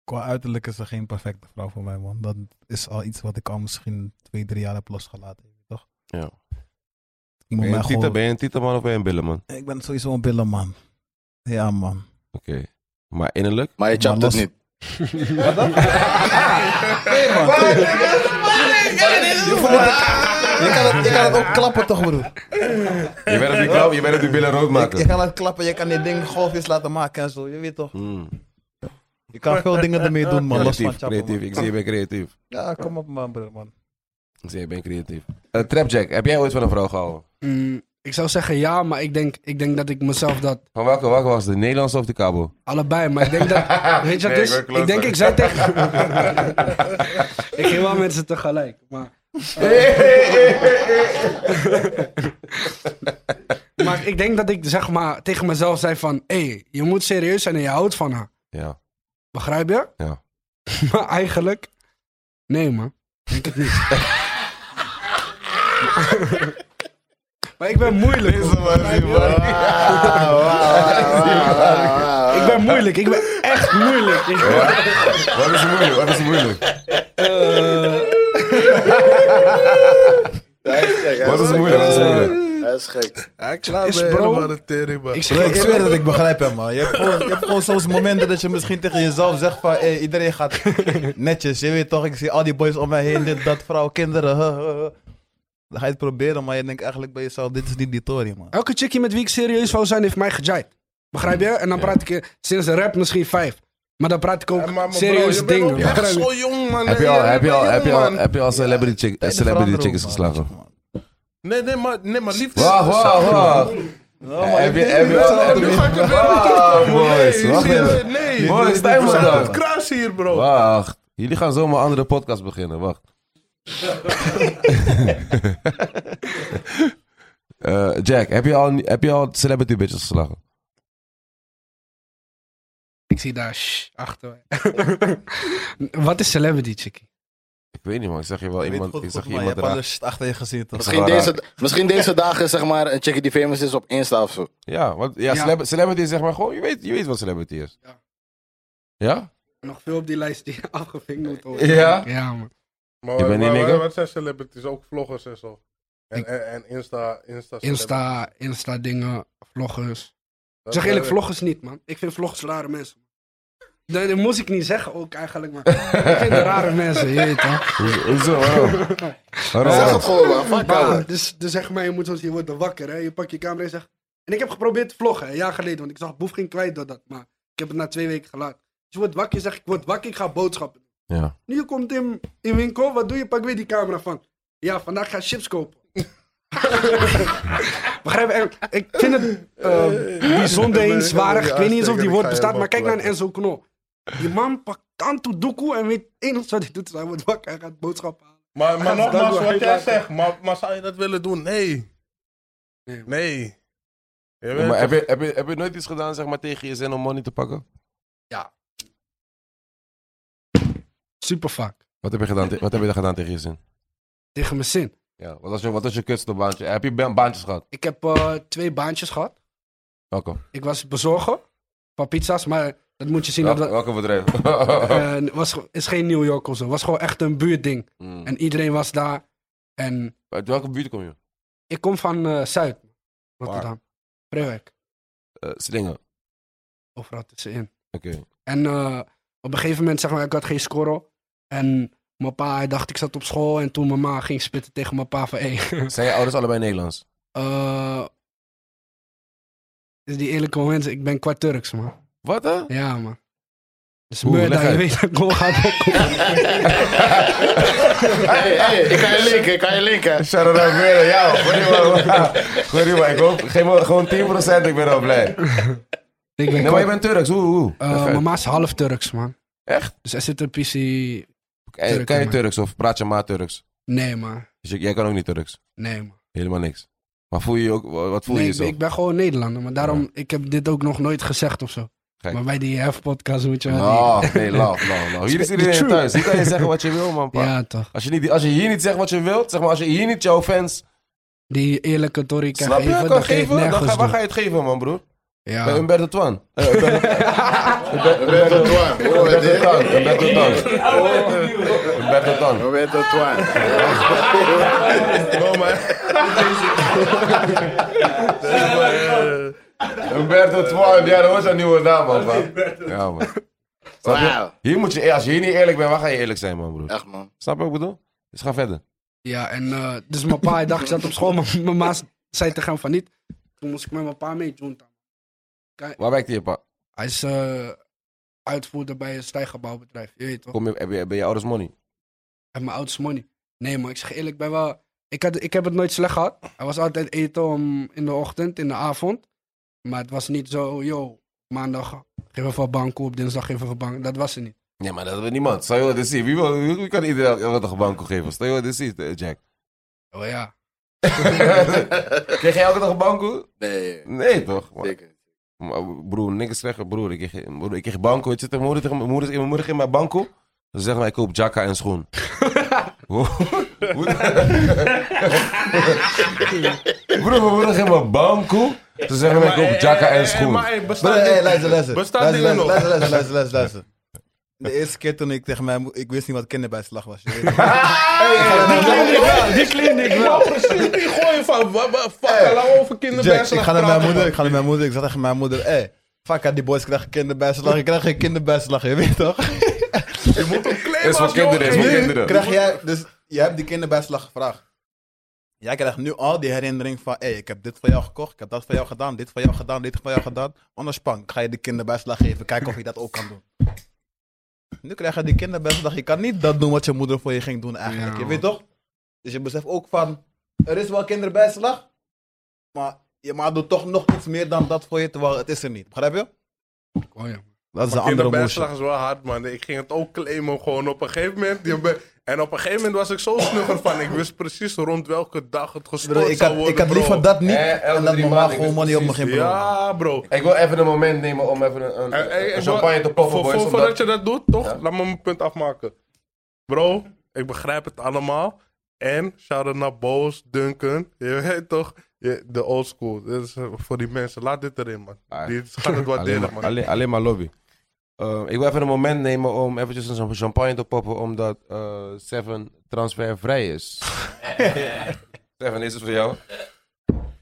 Qua uiterlijk is er geen perfecte vrouw voor mij, man. Dat is al iets wat ik al misschien twee, drie jaar heb losgelaten. je weet Toch? Ja. Ik, moet Ben je, mij een tita, gewoon... ben je een titelman of ben je een billenman? ik ben sowieso een billenman. Ja, man. Oké. Maar innerlijk? Maar je Maar chapt het los- niet. Nee, man. Je voelt het- Je kan het- je kan het ook klappen, toch, broer? Je bent natuurlijk wel, je bent natuurlijk billen rood Je, je maken. kan het klappen, je kan die ding golfjes laten maken en zo. Je weet toch? Hmm. Je kan veel dingen ermee doen, man. Los van Creatief, chappen, creatief. Ik zie je bent creatief. man. Ja, kom op, man, broer, man. Ik zie je bent creatief. Eh, Trapjack, heb jij ooit van een vrouw gehouden? Mm, ik zou zeggen ja, maar ik denk, ik denk dat ik mezelf dat Van welke, welke was het? De Nederlandse of de Cabo? allebei. Maar ik denk dat. Weet je wat Nee, ik het is? word Ik, closer. denk, ik zei tegen. ik ging wel met ze tegelijk. Maar, maar ik denk dat ik zeg maar tegen mezelf zei: van... hé, hey, je moet serieus zijn en je houdt van haar. Ja. Begrijp je? Ja. maar eigenlijk. Nee, man. Denk het niet. maar ik ben moeilijk. hoor. Ik ben moeilijk. Ik ben echt moeilijk. Ik ben- Wat is moeilijk? Wat is moeilijk? Hij is gek. Wat is moeilijk? Wat is moeilijk? Hij is gek. Hij klaar Is bij bro- helemaal de tering, man. Ik Ik zeg Broer, je ik eerlijk, zweer dat ik begrijp hem, man. Je hebt gewoon, je hebt gewoon soms momenten dat je misschien tegen jezelf zegt van... Hey, iedereen gaat netjes, je weet toch? Ik zie al die boys om mij heen, dit, dat, vrouw, kinderen. huh, huh, huh. Dan ga je het proberen, maar je denkt eigenlijk bij jezelf... Dit is niet die Tory, man. Elke chickie met wie ik serieus wou zijn, heeft mij gejijt. Begrijp je? En dan praat ik eh, sinds de rap misschien vijf. Maar dan praat ik ook serieus dingen. echt begrijp je? zo jong, man. Heb je al, heb je al, heb je al, heb je al celebrity, chick, Tijden celebrity veranderen chickens ook, geslagen? man. Nee, nee, maar, nee, maar liefde. Wacht, wacht, wacht. Heb je, heb je, heb Nu ga ik je... het wel Wacht, boys. Nee, Wacht serieus, even. Nee, Boys, dit- sta je we maar zijn dan. aan het kruis hier, bro. Wacht. Jullie gaan zomaar een andere podcast beginnen. Wacht. Eh, Jack, heb je, al, heb je al celebrity bitches geslagen? Ik zie daar shh, achter. Wat is celebrity chickie? Ik weet niet, man. Ik zag je wel Weet iemand. goed, Ik goed, zag je man, Je iemand hebt al raar. de shit achter je gezien, toch? Misschien Misschien raar. deze, misschien deze dagen zeg maar een chickie die famous is op Insta of zo. Ja, want ja, Ja. celeb- celebrity is zeg maar gewoon. Je weet, je weet wat celebrity is. Ja. Ja? Nog veel op die lijst die afgevinkt moet worden. Ja? Ja, man. Maar, Je bent niet maar- nigger? maar wat zijn celebrities? Ook vloggers en zo. En, Ik- en, en Insta, Insta. Insta, Insta dingen, vloggers. Ik Dat- zeg eerlijk, eh, vloggers niet, man. Ik vind vloggers rare mensen. Nee, dat moest ik niet zeggen ook eigenlijk, maar ik vind het rare mensen, je weet toch? Hoezo- Hoezo? Waarom? Waarom? Zeg waarom? het gewoon, man. Fuck Maar, out. dus, dus zeg maar, je moet zoals je wordt dan wakker, hè? Je pakt je camera en zegt. En ik heb geprobeerd te vloggen, een jaar geleden, want ik zag boef ging kwijt door dat. Maar ik heb het na twee weken gelaten. Dus je wordt wakker, je zegt, ik word wakker, ik ga boodschappen. doen. Ja. Nu je komt in, in winkel, wat doe je? Pak weer die camera van. Ja, vandaag ga ik chips kopen. Begrijp je? En Ik vind het eh, bijzonder Nee, eens waardig. ik Ik wil weet die niet eens of aansteken, die ik woord ga bestaat, je maar kijk naar een helemaal Enzo Knol. Die man pakt Tantu Doekoe en weet één wat hij doet. Hij wordt wakker, hij gaat boodschappen halen. Maar, maar Gaan ze nogmaals, dan wat jij laten? zegt, maar, maar zou je dat willen doen? Nee. Nee. Nee. Je Ja, weet maar toch? heb, je, heb, je, heb je nooit iets gedaan zeg maar, tegen je zin om money te pakken? Super vaak. Wat heb je, gedaan, te- wat heb je dan gedaan tegen je zin? Tegen mijn zin. Ja, wat was je, wat was je kutste baantje? Heb je ba- baantjes gehad? Ik heb eh, twee baantjes gehad. Welke? Ik was bezorger van pizza's, maar dat moet je zien. Welke, dat dat, welke bedrijf? Oh. eh, was, ge- is geen New York of zo. was gewoon echt een buurtding. Hmm. En iedereen was daar. En Uit welke buurt kom je? ik kom van eh, Zuid, Rotterdam. Vreewijk, Eh Slingen. overal tussenin. Oké. En eh, op een gegeven moment, zeg maar, ik had geen score. En mijn pa, hij dacht ik zat op school. En toen mijn ma ging spitten tegen mijn pa van... Hey, Zijn je ouders allebei Nederlands? eh, is die eerlijke mensen, ik ben kwart Turks, man. Wat hè? Ja, man. is Oeh, murder, leg Dus je uit. weet dat ik gewoon ga opkomen. Hey, hey, ik kan je linken, ik kan je linken. Shout-out naar Murder, ja. Goed, Ruben. Ik hoop, geef me gewoon 10%, ik ben al blij. Ik ben Nee, maar je bent Turks, hoe, hoe? Eh, Leg uit. mijn ma is half Turks, man. Echt? Dus er zit een PC... Kan je, Turk, kan je maar. Turks of praat je maar Turks? Nee, man. Dus je- jij kan ook niet Turks? Nee, man. Helemaal niks. Maar voel je je ook, wat voel je Nee, ik, jezelf? ik ben gewoon Nederlander, maar daarom... Ik heb dit ook nog nooit gezegd of zo. Kijk. Maar bij die HF-podcast moet je wel... die- Nou, Oh, nee, love, love, love. Hier is The iedereen truth. thuis. Hier kan je zeggen wat je wil, man. pa. Ja, toch. Als, je niet, als je hier niet zegt wat je wilt, zeg maar, als je hier niet jouw fans Die eerlijke Tory kan Snap je? geven, kan dat kan ik geven? Dan nergens ga, waar doen. ga je het geven, man, broer? Bij Ja, Umberto Twan. Eh, Umberto- Roberto Twan. Hoor je Umberto dit? Twan. Umberto Twan. Umberto Twan. Roberto Twan. Oh, No, man. Umberto Twan. Ja, dat was een nieuwe naam, man. man. Ja, man. Snap je? Wauw. Hier moet je, als je hier niet eerlijk bent, waar ga je eerlijk zijn, man, broer? Echt man. Snap je wat ik bedoel? Dus ga verder. ja en eh, dus mijn pa, hij dacht, ik zat op school, maar mijn ma zei tegen hem van niet. Toen moest ik met mijn pa mee, junta. Waar werkt je, pa? Hij is eh, uitvoerder bij een stijgerbouwbedrijf, je weet toch? Kom je, heb, je, heb je ouders money? En mijn ouders money. Nee, maar ik zeg eerlijk, ik ben wel... Ik, had, ik heb het nooit slecht gehad. Hij was altijd eten om, in de ochtend, in de avond. Maar het was niet zo, yo, maandag geven we van banko, op dinsdag geven we van banko. Dat was het niet. Nee, maar dat wil niemand. Stel je wat dit zien. Wie, wil, wie, wie kan iedereen wat een banko geven? Stel je wat dit ziet, eh, Jack. Oh ja. Kreeg jij elke dag een banko? Nee, Nee, toch? Maar- zeker. Maar broer, niks zeggen, broer. Ik kreeg, broer, ik kreeg banko. Het zit mijn moeder tegen mijn moeder. Mijn moeder ging mijn banko. Ze zeggen wij, ik koop jacka en schoen. Hoe- broer, mijn moeder ging mijn banko. Ze zeggen wij, ik koop jacka en schoen. eh, Maar hey, Broer, bestaat hey, dit- luister, luister. Bestaat luister, die luister, nog? luister, luister, luister, luister, luister. De eerste keer toen ik tegen mij... mo- Ik wist niet wat kinderbijslag was. je weet het. Die kliniek Ik wou precies niet gooien van... wa- wa- Fuck, laten we over Jack, ik kinderbijslag ga naar mijn praten, moeder, man. ik ga naar mijn moeder. Ik zeg tegen mijn moeder, hé, fuck aan die boys, krijgen kinderbijslag. Ik krijg geen kinderbijslag, je weet toch? Je moet hem claimen Is voor als jongen. kinderen, is voor Nu kinderen. krijg jij, dus je hebt die kinderbijslag gevraagd. Jij krijgt nu al die herinnering van, hé, ik heb dit voor jou gekocht, ik heb dat voor jou gedaan, dit voor jou gedaan, dit voor jou gedaan. Onderspan, ik ga je de kinderbijslag geven, kijken of je dat ook kan doen. Nu krijg je die kinderbijslag, je kan niet dat doen wat je moeder voor je ging doen eigenlijk, Ja. je weet toch? Dus je beseft ook van, er is wel kinderbijslag, maar je ma doet toch nog iets meer dan dat voor je, terwijl het is er niet, begrijp je? Oh ja. Dat is Maar een andere kinderbijslag moesje. is wel hard, man. Ik ging het ook claimen gewoon op een gegeven moment. Je be- En op een gegeven moment was ik zo snugger van. Ik wist precies rond welke dag het Ik bedoel, gestort Ik had, zou ik worden, had bro. liever dat niet Eh, elke en dat drie mama maanden, ik gewoon wist money op me precies, ging brengen. Ja, bro. Ik wil even een moment nemen om even een, een, Eh, eh, een eh, champagne te poppen, voor- boys. voor- omdat- Voordat je dat doet, toch? Ja. Laat me mijn punt afmaken. Bro, ik begrijp het allemaal. En shout-out naar Boos, Duncan. Je weet toch? Je- De old school. Dit is eh, voor die mensen. Laat dit erin, man. Ah. Die gaan het alleen, waarderen, maar, man. alleen, alleen maar lobby. Eh, ik wil even een moment nemen om eventjes een champ- champagne te poppen, omdat eh, Seven transfervrij is. Seven, dit is voor jou.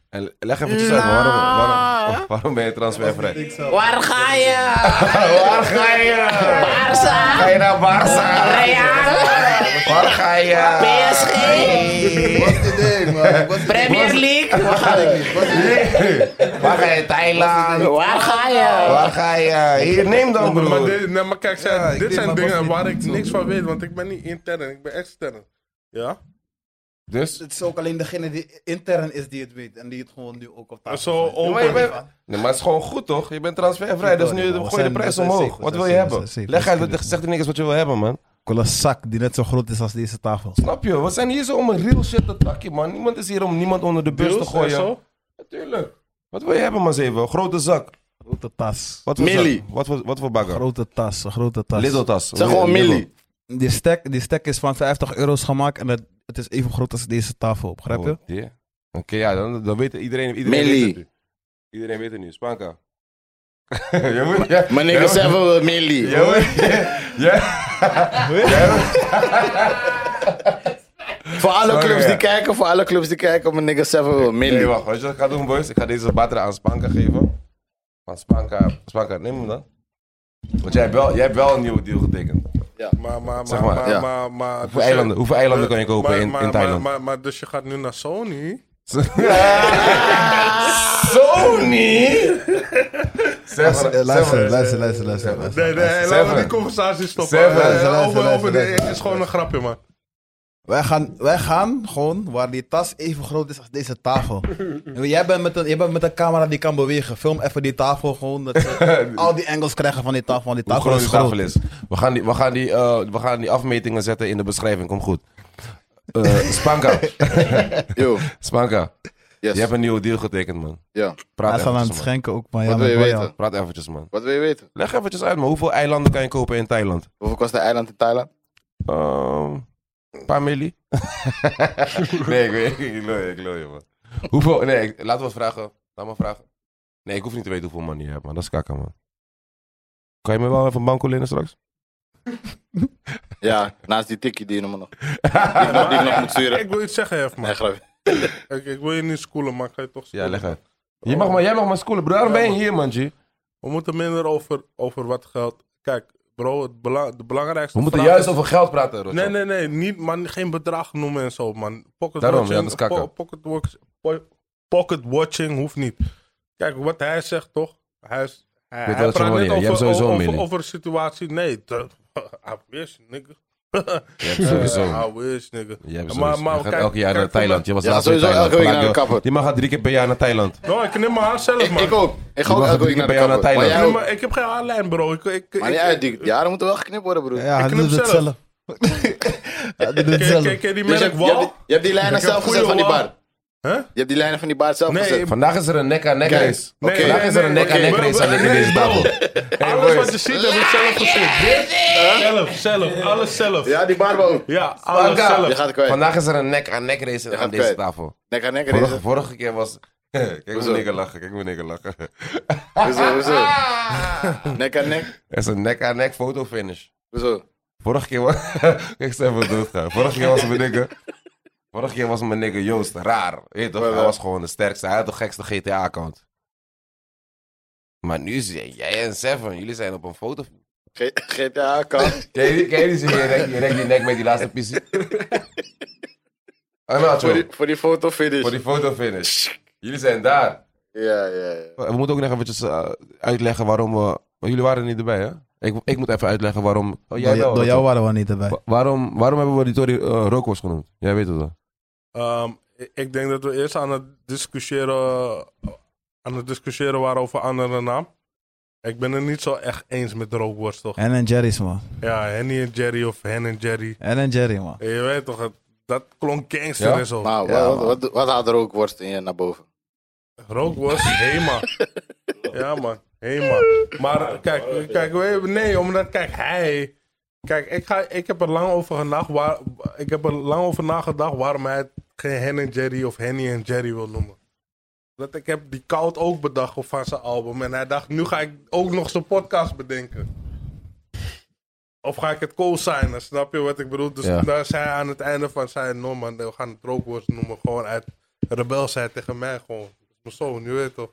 En leg eventjes uit, waarom, waarom, waarom ben je transfervrij? Nou. Waar ga je? Waar ga je? Barça, Ga je naar Barça? Real, Waar ga je? PSG, Wat is het idee, man? Wat is het Premier League. Waar ga ik niet? Wat is het idee? Waar ga je? Thailand? Waar ga je? Waar ga je? Hier, neem dan, Maar, broer. dit, nee, maar kijk, zij- Ja, ik dit deed zijn mijn dingen was waar niet ik zo. niks van weet, want ik ben niet intern, ik ben extern. Ja? Dus? Het is ook alleen degene die intern is die het weet en die het gewoon nu ook op tafel Zo zet. open. Maar, je bent- nee, maar het is gewoon goed, toch? Je bent transfervrij, dus nu We gooi je zijn- de prijs we zijn omhoog. safe, Wat we wil je zijn safe, hebben? we zijn safe. Leg Dat is uit, goed. zeg die niks wat je wil hebben, man. Ik wil een zak die net zo groot is als deze tafel. Snap je? We zijn hier zo om een real shit te takken, man. Niemand is hier om niemand onder de bus te Deals en gooien. zo? Natuurlijk. Wat wil je hebben, man, zeven? Een Grote zak. Grote tas. Wat voor Millie. zak? Wat voor, wat voor bagger? Grote tas, een grote tas. Lidl tas. Zeg gewoon Lidl. Millie. Die stek, die stek is van 50 euro's gemaakt en het, het is even groot als deze tafel, begrijp Oh, je? dear. Oké, ja, dan, dan weet iedereen, iedereen Millie. weet het nu. Iedereen weet het nu. Spanka. je moet, ja, Mijn nigga zeggen we Millie. Ja, ja, Voor alle Sorry, clubs ja. die kijken, voor alle clubs die kijken, mijn nigga zeggen we Nee, Millie. wacht. Weet je wat ik ga doen, boys? Ik ga deze batter aan Spanka geven. Want Spanka, Spanka, neem hem dan. Want jij hebt wel, jij hebt wel een nieuwe deal getekend. Maar, maar, maar, Zeg maar, maar, ja. maar, maar- Hoeveel dus je- eilanden, hoeveel eilanden kan je kopen maar- in, maar- in maar- Thailand? Maar, maar, dus je gaat nu naar Sony? Sony? Seven, Luister, luister, Seven. luister, luister, luister, luister. Nee, nee, laten we Seven. die conversatie stoppen. Seven. Eh, Luister, luister, over, over de, luister, het is gewoon een grapje, man. Wij gaan, wij gaan gewoon waar die tas even groot is als deze tafel. jij, bent met een, jij bent met een camera die kan bewegen. Film even die tafel gewoon. Dat ze al die angles krijgen van die tafel. Want die Hoe tafel groot is die groot. tafel is. We gaan die, we, gaan die, eh, we gaan die afmetingen zetten in de beschrijving, kom goed. Eh, Spanka, Yo, Spanka, yes. je hebt een nieuwe deal getekend, man. Ja. Praat Hij staat aan het eventjes, man. schenken ook, maar ja, Wat wil maar ik je hoor jou. weten? Praat eventjes, man. Wat wil je weten? Leg eventjes uit, man. Hoeveel eilanden kan je kopen in Thailand? Hoeveel kost een eiland in Thailand? Ehm, een paar milli. nee, ik weet ik lul je, ik lul je, man. Hoeveel, nee, ik- laten we het vragen. Laat me vragen. Nee, ik hoef niet te weten hoeveel money je hebt, man. Dat is kakker, man. Kan je me wel even een banko lenen straks? Ja, naast die tikkie die je me nog. Die ik nog, die ik nog moet sturen. Ik wil iets zeggen, Hef, Nee, man. grapje. Ik, ik wil je niet schoolen, maar ik ga je toch Ja, schoolen. leg uit. Je mag maar, jij mag maar schoolen, bro. Daarom ben je hier, man, G. We moeten minder over, over wat geld. Kijk, bro, het bela- de belangrijkste We moeten vraag juist is- over geld praten, Roger. Nee, nee, nee. Niet, man, geen bedrag noemen en zo, man. Pocket Daarom, ja, watching, dat is kakker. po- pocket, watch- po- pocket watching hoeft niet. Kijk, wat hij zegt, toch? Hij, is, hij, weet hij wat je wil, praat ja. niet over, Je hebt sowieso een over, over, mening. een situatie. Nee, te- I wish, nigga. Je hebt sowieso. Eh, I wish, nigga. Je hebt Maar- sowieso. maar je gaat kijk- elke kijk jaar naar voor mij- Thailand. Je was Ja, laatst sowieso in Thailand. elke week Praat naar de wel- kapper. Je mag gaan drie keer per jaar naar Thailand. No, Nou, ik neem mijn haar zelf, Ik, man. ik ook. Ik ga Je ook mag elke week drie naar de keer bij jou kapper. naar Maar jij Thailand. Nee, ook. maar ik heb geen haarlijn, bro. Ik, ik, Maar niet ik- uit, die die haren moeten wel geknipt worden, broer. Ja, hij knip doet het zelf. zelf. Hij doet het Ken- ken- zelf. ken je die Dus je, merk hebt, je, hebt, Wal? die- je hebt die Ik lijnen heb zelf goede gezet van die wal. bar. Huh? Je hebt die lijnen van die bar zelf Nee, gezet. ik- Vandaag is er een nek-aan-nek Kijk. race. Oké. Nee, Vandaag is er een nee, nek-aan-nek nee, race aan nee, in deze nee, tafel. bro. Hey, Alles boys. wat je ziet, heb ik zelf gezien. Zelf, zelf. Alles zelf. Ja, die bar ook. Ja, alles Sparka. Je zelf. gaat kwijt. Vandaag is er een nek-aan-nek race aan gaat deze kwijt. tafel. Nek aan nek Vorige, race. vorige keer was... Kijk hoe Hoezo? nigger lachen, kijk hoe nigger lachen. Hoezo, hoezo? Nek aan nek. Er is een nek-aan-nek fotofinish. Hoezo? Vorige keer was... ik zei even doodgaan. Vorige keer was mijn nigger... Vorige keer was mijn nigger Joost raar. Weet je toch? Wel, Hij wel. was gewoon de sterkste. Hij had de gekste GTA-account. Maar nu zijn jij en Seven, jullie zijn op een foto... G- GTA kan. Ken je die- ken je die serie? Je rekt- Je rekt die nek met die laatste pissie. Ah, nou, Voor joh. die, voor die fotofinish. Voor die fotofinish. Jullie zijn daar. Ja, ja, ja. We moeten ook nog eventjes eh, uitleggen waarom we... maar jullie waren er niet bij, hè? Ik, ik moet even uitleggen waarom... Oh, jij Door- wel. Door Roger. jou waren we niet erbij. Wa- waarom, waarom hebben we die Tory eh, Rokos genoemd? Jij weet het wel. Ehm, ik- ik denk dat we eerst aan het discussiëren, aan het discussiëren waren over andere naam. Ik ben het niet zo echt eens met rookworst, toch? En en Jerry's, man. Ja, Henny en Jerry of Hen en Jerry. En en Jerry, man. Je weet toch, het- dat klonk gangster Ja? en zo. Maar Ja, Nou, wat, man. wat, wat, wat haalt er ook worst in je naar boven? Rookworst, Hema. ja, man. Hema. Maar kijk, kijk, we- nee, omdat, kijk, hij... Kijk, ik, ga, ik heb er lang over gedacht, waar, ik heb er lang over nagedacht waarom hij het geen Hen en Jerry of Henny en Jerry wil noemen. Dat ik heb die Koud ook bedacht op van zijn album. En hij dacht, nu ga ik ook nog zijn podcast bedenken. Of ga ik het co-signen, snap je wat ik bedoel? Dus Ja. daar zei hij aan het einde van zijn no man, we gaan het rookworst noemen. Gewoon uit rebelsheid tegen mij gewoon. Dat is mijn zoon, je weet toch?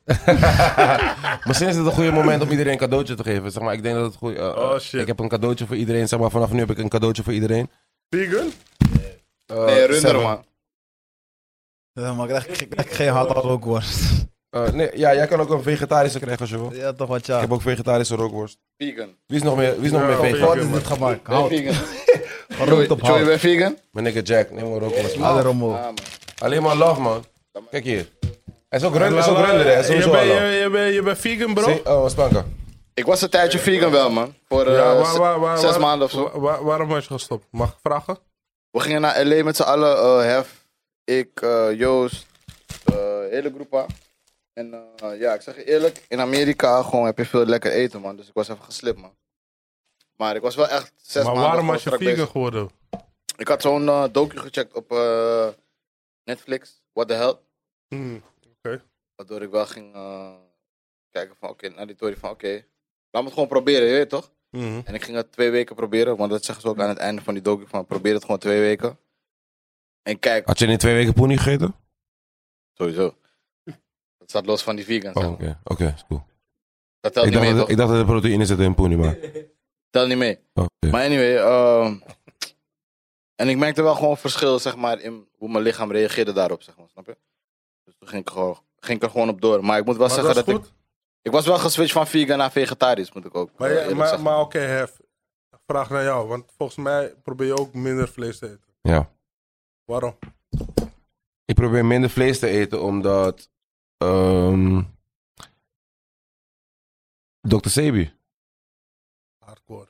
Misschien is het een goede moment om iedereen een cadeautje te geven. Zeg maar, ik denk dat het goed eh, Oh, shit. Ik heb een cadeautje voor iedereen. Zeg maar, vanaf nu heb ik een cadeautje voor iedereen. Vegan? Eh, Nee, runder Seven. man. Ja, Maar ik krijg- ik krijg geen halal rookworst. Eh, nee, ja, jij kan ook een vegetarische krijgen als je wil. Ja, toch wat, Ik ja. heb ook vegetarische rookworst. Vegan. Wie is nog meer, wie is nog Ja, meer van vegan? vegan. Wat is dit gemaakt? Ben je Hout. vegan? Rood op Joey, hout. ben je vegan? Mijn nigga Jack, neem een rookworst. man. Alle Ah, rommel. man. Alleen maar love, man. Kijk hier. Hij is ook runder, hij is ook runder, hè. Hij is Je sowieso bent al je, love. je bent- je bent vegan, bro? Zie- Oh, Spanka. Ik was een tijdje vegan wel, man. Voor eh, Ja, zes- waar, waar, waar, zes waar- maanden of zo. waar- waar- waarom was je gestopt? Mag ik vragen? We gingen naar LA met z'n allen. eh, Hef, ik, eh, Joost, eh hele groep aan. En eh, ja, ik zeg je eerlijk, in Amerika gewoon heb je veel lekker eten, man. Dus ik was even geslipt, man. Maar ik was wel echt zes maar maanden waarom gewoon was je strak vegan bezig. geworden? Ik had zo'n eh, docu gecheckt op eh, Netflix, What the Hell. Mm. Hmm. Waardoor ik wel ging eh, kijken van, oké, naar die tory van, oké. laat me het gewoon proberen, je weet toch? Mhm. En ik ging het twee weken proberen, want dat zeggen ze ook aan het einde van die docu, van probeer het gewoon twee weken. En kijk, Had je in die twee weken poenie gegeten? sowieso. Dat staat los van die vegan. Oh, zeg oké. maar. Oké, is cool. Dat telt Ik niet dacht, mee, dat, toch? ik dacht dat er proteïne zit in poenie, maar... Telt niet mee. Oh, oké. Maar anyway, ehm, en ik merkte wel gewoon verschil, zeg maar, in hoe mijn lichaam reageerde daarop, zeg maar, snap je? Dus toen ging ik, gewoon, ging ik er gewoon op door. Maar ik moet wel Maar het was zeggen dat ik... goed? Ik Ik was wel geswitcht van vegan naar vegetarisch, moet ik ook. Maar, eh, ja, eerlijk maar, zeggen. maar oké, Hef. Vraag naar jou, want volgens mij probeer je ook minder vlees te eten. Ja. Waarom? Ik probeer minder vlees te eten omdat. ehm Dr. Sebi. Hardcore.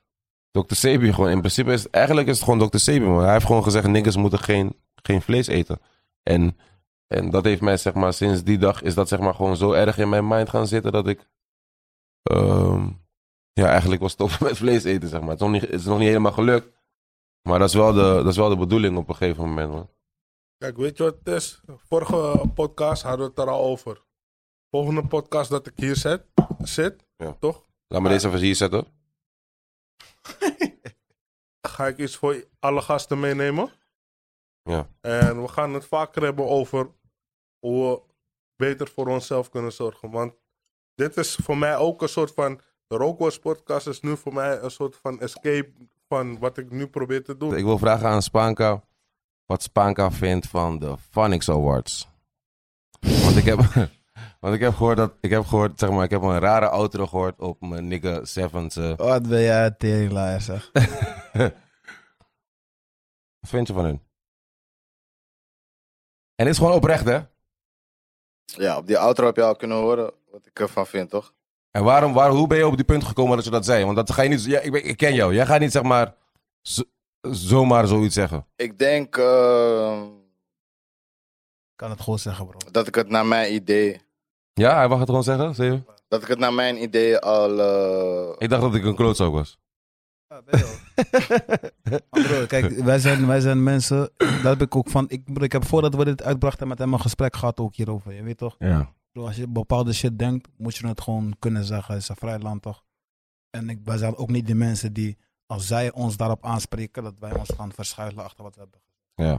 Dr. Sebi gewoon. In principe is het, eigenlijk is het gewoon Dr. Sebi. Maar hij heeft gewoon gezegd: niggers moeten geen, geen vlees eten. En, en dat heeft mij, zeg maar, sinds die dag is dat zeg maar gewoon zo erg in mijn mind gaan zitten dat ik. ehm, ja, eigenlijk was stoppen met vlees eten, zeg maar. Het is nog niet, het is nog niet helemaal gelukt. Maar dat is, wel de, dat is wel de bedoeling op een gegeven moment, man. Kijk, weet je wat het is? Vorige podcast hadden we het er al over. Volgende podcast dat ik hier zit, zit Ja. toch? Laat me deze even hier zetten. Ga ik iets voor alle gasten meenemen. Ja. En we gaan het vaker hebben over hoe we beter voor onszelf kunnen zorgen. Want dit is voor mij ook een soort van. De Rockwars podcast is nu voor mij een soort van escape van wat ik nu probeer te doen. Ik wil vragen aan Spaanka wat Spaanka vindt van de Phonics Awards. Want ik heb, want ik heb gehoord dat ik heb gehoord, zeg maar, ik heb een rare outro gehoord op mijn nigga Sevens. eh. Wat ben jij teringlaaier, zeg. Wat vind je van hun? En dit is gewoon oprecht, hè? Ja, op die outro heb je al kunnen horen wat ik ervan vind, toch? En waarom, waar, hoe ben je op die punt gekomen dat je dat zei? Want dat ga je niet. Ja, ik, ben- ik ken jou. Jij gaat niet zeg maar z- zomaar zoiets zeggen. Ik denk eh, Kan het gewoon zeggen, bro. dat ik het naar mijn idee. Ja, hij mag het gewoon zeggen. Zie je? Dat ik het naar mijn idee al. eh, Ik dacht dat ik een klootzak was. Ja, ben je wel. Maar bro, kijk, wij zijn, wij zijn mensen. Dat heb ik ook van. Ik, bro, ik heb voordat we dit uitbrachten met hem een gesprek gehad ook hierover. Je weet toch? Ja. Bro, als je bepaalde shit denkt, moet je het gewoon kunnen zeggen. Het is een vrij land toch? En ik, wij zijn ook niet die mensen die, als zij ons daarop aanspreken, dat wij ons gaan verschuilen achter wat we hebben gezegd. Ja.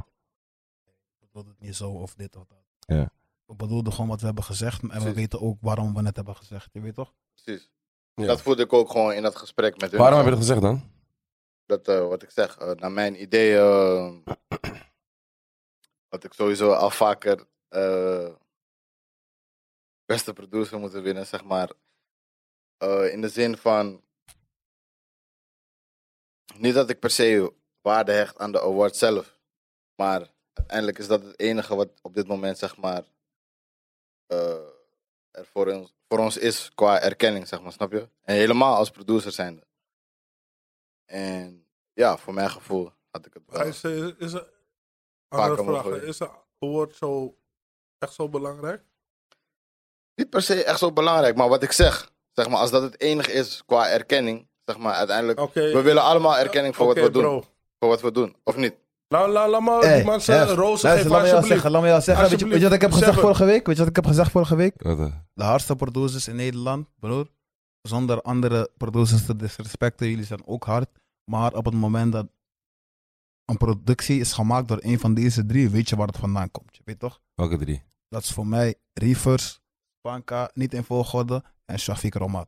Ik bedoel het niet zo of dit of dat. Ja. We bedoelden gewoon wat we hebben gezegd en we Precies. weten ook waarom we het hebben gezegd. Je weet toch? precies. Ja. Dat voelde ik ook gewoon in dat gesprek met hun. Waarom heb je dat gezegd dan? dat eh, wat ik zeg, eh, naar mijn idee, eh, had ik sowieso al vaker eh, beste producer moeten winnen, zeg maar. Eh, in de zin van, niet dat ik per se waarde hecht aan de award zelf, maar uiteindelijk is dat het enige wat op dit moment, zeg maar, eh, er voor ons, voor ons is qua erkenning, zeg maar, snap je? En helemaal als producer zijnde. En ja, voor mijn gevoel had ik het wel. Maar Is, is, is een andere allemaal vraag. voor je. Is een award zo echt zo belangrijk? Niet per se echt zo belangrijk, maar wat ik zeg, zeg maar, als dat het enige is qua erkenning, zeg maar, uiteindelijk. Oké. We willen allemaal erkenning voor Oh, Oké, wat we doen. bro. Voor wat we doen, of niet? Nou, laat laat maar Hey, die man zijn Hef, rozen Luister, geven, laat me jou alsjeblieft. zeggen, laat me jou zeggen. Weet je, weet je wat ik heb Alsjeblieft, gezegd Seven. vorige week? Weet je wat ik heb gezegd vorige week? Wat, eh? De hardste producers in Nederland, broer. Zonder andere producers te disrespecten, jullie zijn ook hard. Maar op het moment dat een productie is gemaakt door een van deze drie, weet je waar het vandaan komt. Je weet toch? Welke drie? Dat is voor mij Reefers, Panka, niet in volgorde, en Shafiq Romat.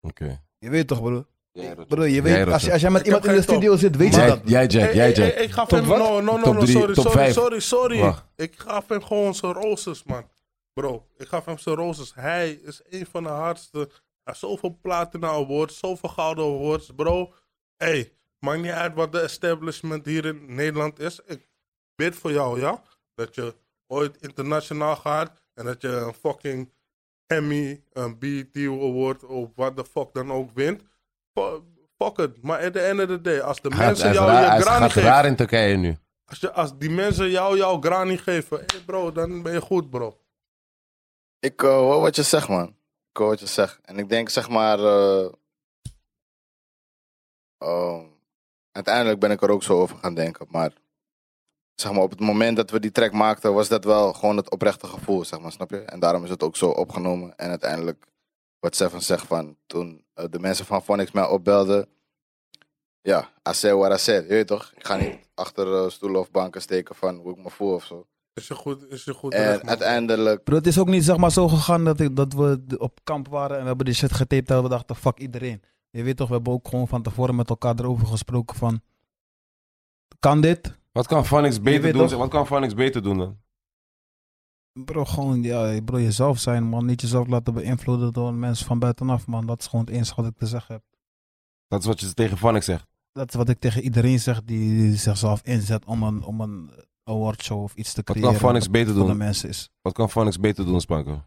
Oké. Je weet toch, broer? Jij, Roger. Broer, je Jij, weet, Roger. als, je- als jij met Ik iemand heb in de geen studio zit, weet je Jij, dat. jij, Jack, Hey, jij, hey, Jack. hey, ik gaf Top hem, wat? no, no, no, Top no, drie, sorry, top sorry, vijf. sorry, sorry. Wacht. Ik gaf hem gewoon zijn roosters, man. Bro, ik gaf hem zijn roosters. Hij is een van de hardste. Hij heeft zoveel platina awards, zoveel gouden awards, bro. Hey, maakt niet uit wat de establishment hier in Nederland is. Ik bid voor jou, ja? Dat je ooit internationaal gaat en dat je een fucking Emmy, een BET award of wat de fuck dan ook wint. Fu- Fuck it, maar at the end of the day, als de Hij gaat- mensen hij is jou raar- hij je is- grani gaat geven... raar in Turkije nu. Als, je, als die mensen jou jouw graan niet geven, hey bro, dan ben je goed, bro. Ik eh, hoor wat je zegt, man. Ik hoor wat je zegt. En ik denk, zeg maar. eh, ehm, uiteindelijk ben ik er ook zo over gaan denken. Maar, zeg maar, op het moment dat we die track maakten, was dat wel gewoon het oprechte gevoel, zeg maar, snap je? En daarom is het ook zo opgenomen. En uiteindelijk, wat Seven zegt van toen eh, de mensen van Phonics mij opbelden. Ja, I said what I said, je weet toch? Ik ga niet achter eh, stoelen of banken steken van hoe ik me voel of zo. Is je goed, is je goed terecht, En man. uiteindelijk, Bro, het is ook niet zeg maar zo gegaan dat, ik, dat we d- op kamp waren en we hebben die shit getaped en we dachten fuck iedereen. Je weet toch, we hebben ook gewoon van tevoren met elkaar erover gesproken van kan dit? Wat kan Phonics weet beter doen? toch- zeg? Wat kan Phonics beter doen dan? Bro, gewoon ja, bro, jezelf zijn, man. Niet jezelf laten beïnvloeden door mensen van buitenaf, man. Dat is gewoon het enige wat ik te zeggen heb. Dat is wat je tegen Vanek zegt. Dat is wat ik tegen iedereen zeg die zichzelf inzet om een, om een awardshow of iets te kan creëren. Phonics wat beter voor de doen? mensen is. Wat kan Vanex beter doen, Spanko?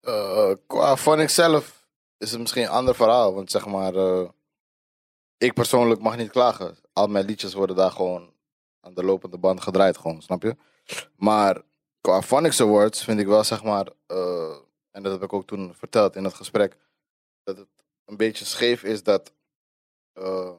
Eh, qua van ikzelf is het misschien een ander verhaal. Want zeg maar, eh, ik persoonlijk mag niet klagen. Al mijn liedjes worden daar gewoon aan de lopende band gedraaid, gewoon, snap je? Maar qua Phonics Awards vind ik wel, zeg maar, eh, en dat heb ik ook toen verteld in het gesprek, dat het een beetje scheef is dat eh,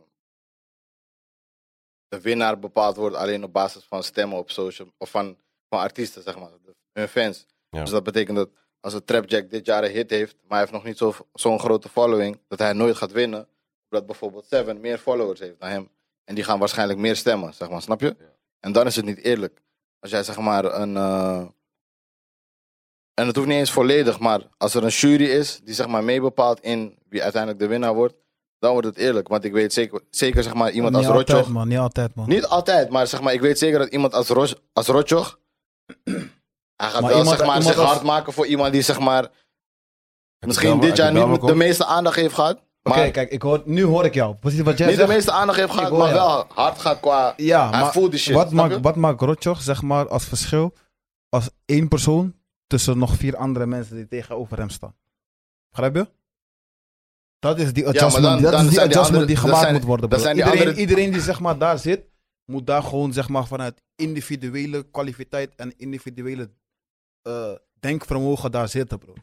de winnaar bepaald wordt alleen op basis van stemmen op social, of van, van artiesten, zeg maar, hun fans. Ja. Dus dat betekent dat als een Trapjack dit jaar een hit heeft, maar hij heeft nog niet zo- zo'n grote following, dat hij nooit gaat winnen. Omdat bijvoorbeeld Seven meer followers heeft dan hem. En die gaan waarschijnlijk meer stemmen, zeg maar, snap je? En dan is het niet eerlijk. Als jij zeg maar een. eh, en het hoeft niet eens volledig, maar als er een jury is die zeg maar meebepaalt in wie uiteindelijk de winnaar wordt, dan wordt het eerlijk. Want ik weet zeker, zeker zeg maar iemand niet als Rotjoch. altijd, man. Niet altijd, man. Niet altijd, maar zeg maar, ik weet zeker dat iemand als, Ros, als Rotjoch. Hij gaat Maar wel iemand- zeg maar, iemand zich als- hard maken voor iemand die zeg maar, misschien Belmer- dit jaar uit de niet Belmer de komt? meeste aandacht heeft gehad. Maar Oké, kijk, ik hoor, nu hoor ik jou. Precies wat jij niet de zegt. meeste aandacht heeft Ik gehad, hoor maar je. wel hard gaat qua. Ja, Hij maar voelt die shit, Wat snap je? maakt, wat maakt Rotjoch, zeg maar, als verschil als één persoon tussen nog vier andere mensen die tegenover hem staan? Begrijp je? Dat is die adjustment, dan- dat dan is die zijn die adjustment andere- die dat gemaakt zijn- moet worden. dat bro. zijn die iedereen, andere- iedereen die zeg maar, daar zit, moet daar gewoon zeg maar, vanuit individuele kwaliteit en individuele eh, denkvermogen daar zitten, bro.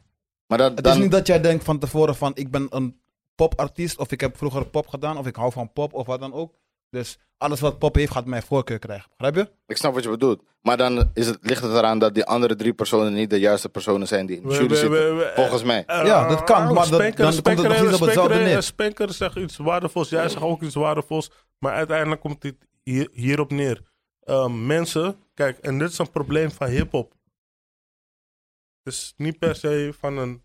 Maar dat, Het dan, is niet dat jij denkt van tevoren van ik ben een popartiest of ik heb vroeger pop gedaan of ik hou van pop of wat dan ook. Dus alles wat pop heeft gaat mijn voorkeur krijgen. Begrijp je? ik snap wat je bedoelt. Maar dan is het, ligt het eraan dat die andere drie personen niet de juiste personen zijn die in de We- jury we- zitten. we- we- volgens mij. Eh, Ja, dat kan, maar dat- dan komt het nog niet op hetzelfde Spenker- neer. Spenker eh, zegt iets waardevols, jij zegt ook iets waardevols. Maar uiteindelijk komt dit hier, hierop neer. Eh, mensen, kijk, en dit is een probleem van hip-hop. Het is niet per se van een.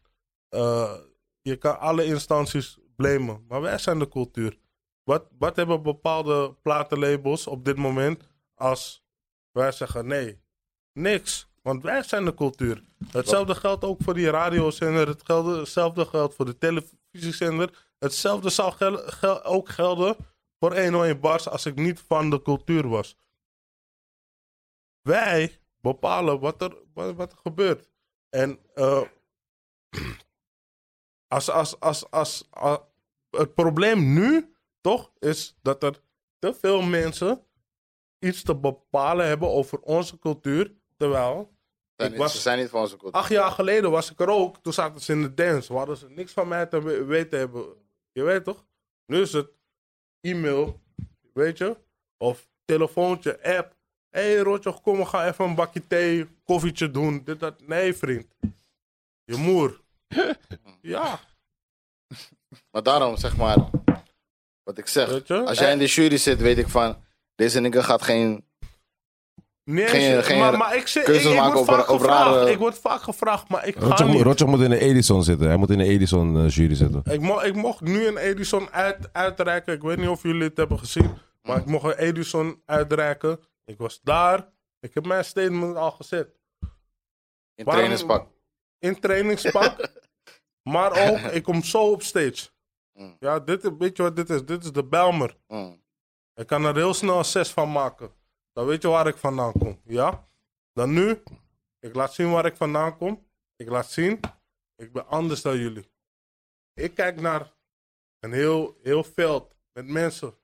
eh, je kan alle instanties blamen, maar wij zijn de cultuur. Wat, wat hebben bepaalde platenlabels op dit moment als wij zeggen nee? Niks. Want wij zijn de cultuur. Hetzelfde geldt ook voor die radiozender. Het geldt- Hetzelfde geldt voor de televisiezender. Hetzelfde zal gel- gel- ook gelden voor 101 Bars als ik niet van de cultuur was. Wij bepalen wat er, wat, wat er gebeurt. En eh, als, als, als, als, als- het probleem nu toch is dat er te veel mensen iets te bepalen hebben over onze cultuur. Terwijl ik Zijn niet- was- Ze zijn niet van onze cultuur. acht jaar geleden was ik er ook. Toen zaten ze in de dance. Waar hadden ze niks van mij te we- weten hebben. Je weet toch? Nu is het e-mail, weet je? Of telefoontje, app. Hé hey, Rotjoch, kom we gaan even een bakje thee, koffietje doen. Dit, dat. Nee vriend. Je moer. ja, Maar daarom zeg maar, wat ik zeg. weet je? Als jij in de jury zit, weet ik van, deze nigger gaat geen Nee, Geen- shit, geen maar, maar ik, zit, ik, keuzes ik, maken word over- vaak over gevraagd. rare- ik word vaak gevraagd, maar ik ga Rotjoch moet- niet. Rotjoch moet in de Edison zitten. Hij moet in de Edison eh, jury zitten. Ik, mo ik mocht nu een Edison uit uitreiken. Ik weet niet of jullie het hebben gezien. Maar ik mocht een Edison uitreiken. Ik was daar. Ik heb mijn statement al gezet. in Waarom- trainingspak. In trainingspak. maar ook, ik kom zo op stage. Mm. Ja, dit is, weet je wat dit is? Dit is de Belmer. Mm. Ik kan er heel snel een 6 van maken. Dan weet je waar ik vandaan kom. Ja? Dan nu, ik laat zien waar ik vandaan kom. Ik laat zien, ik ben anders dan jullie. Ik kijk naar een heel, heel veld met mensen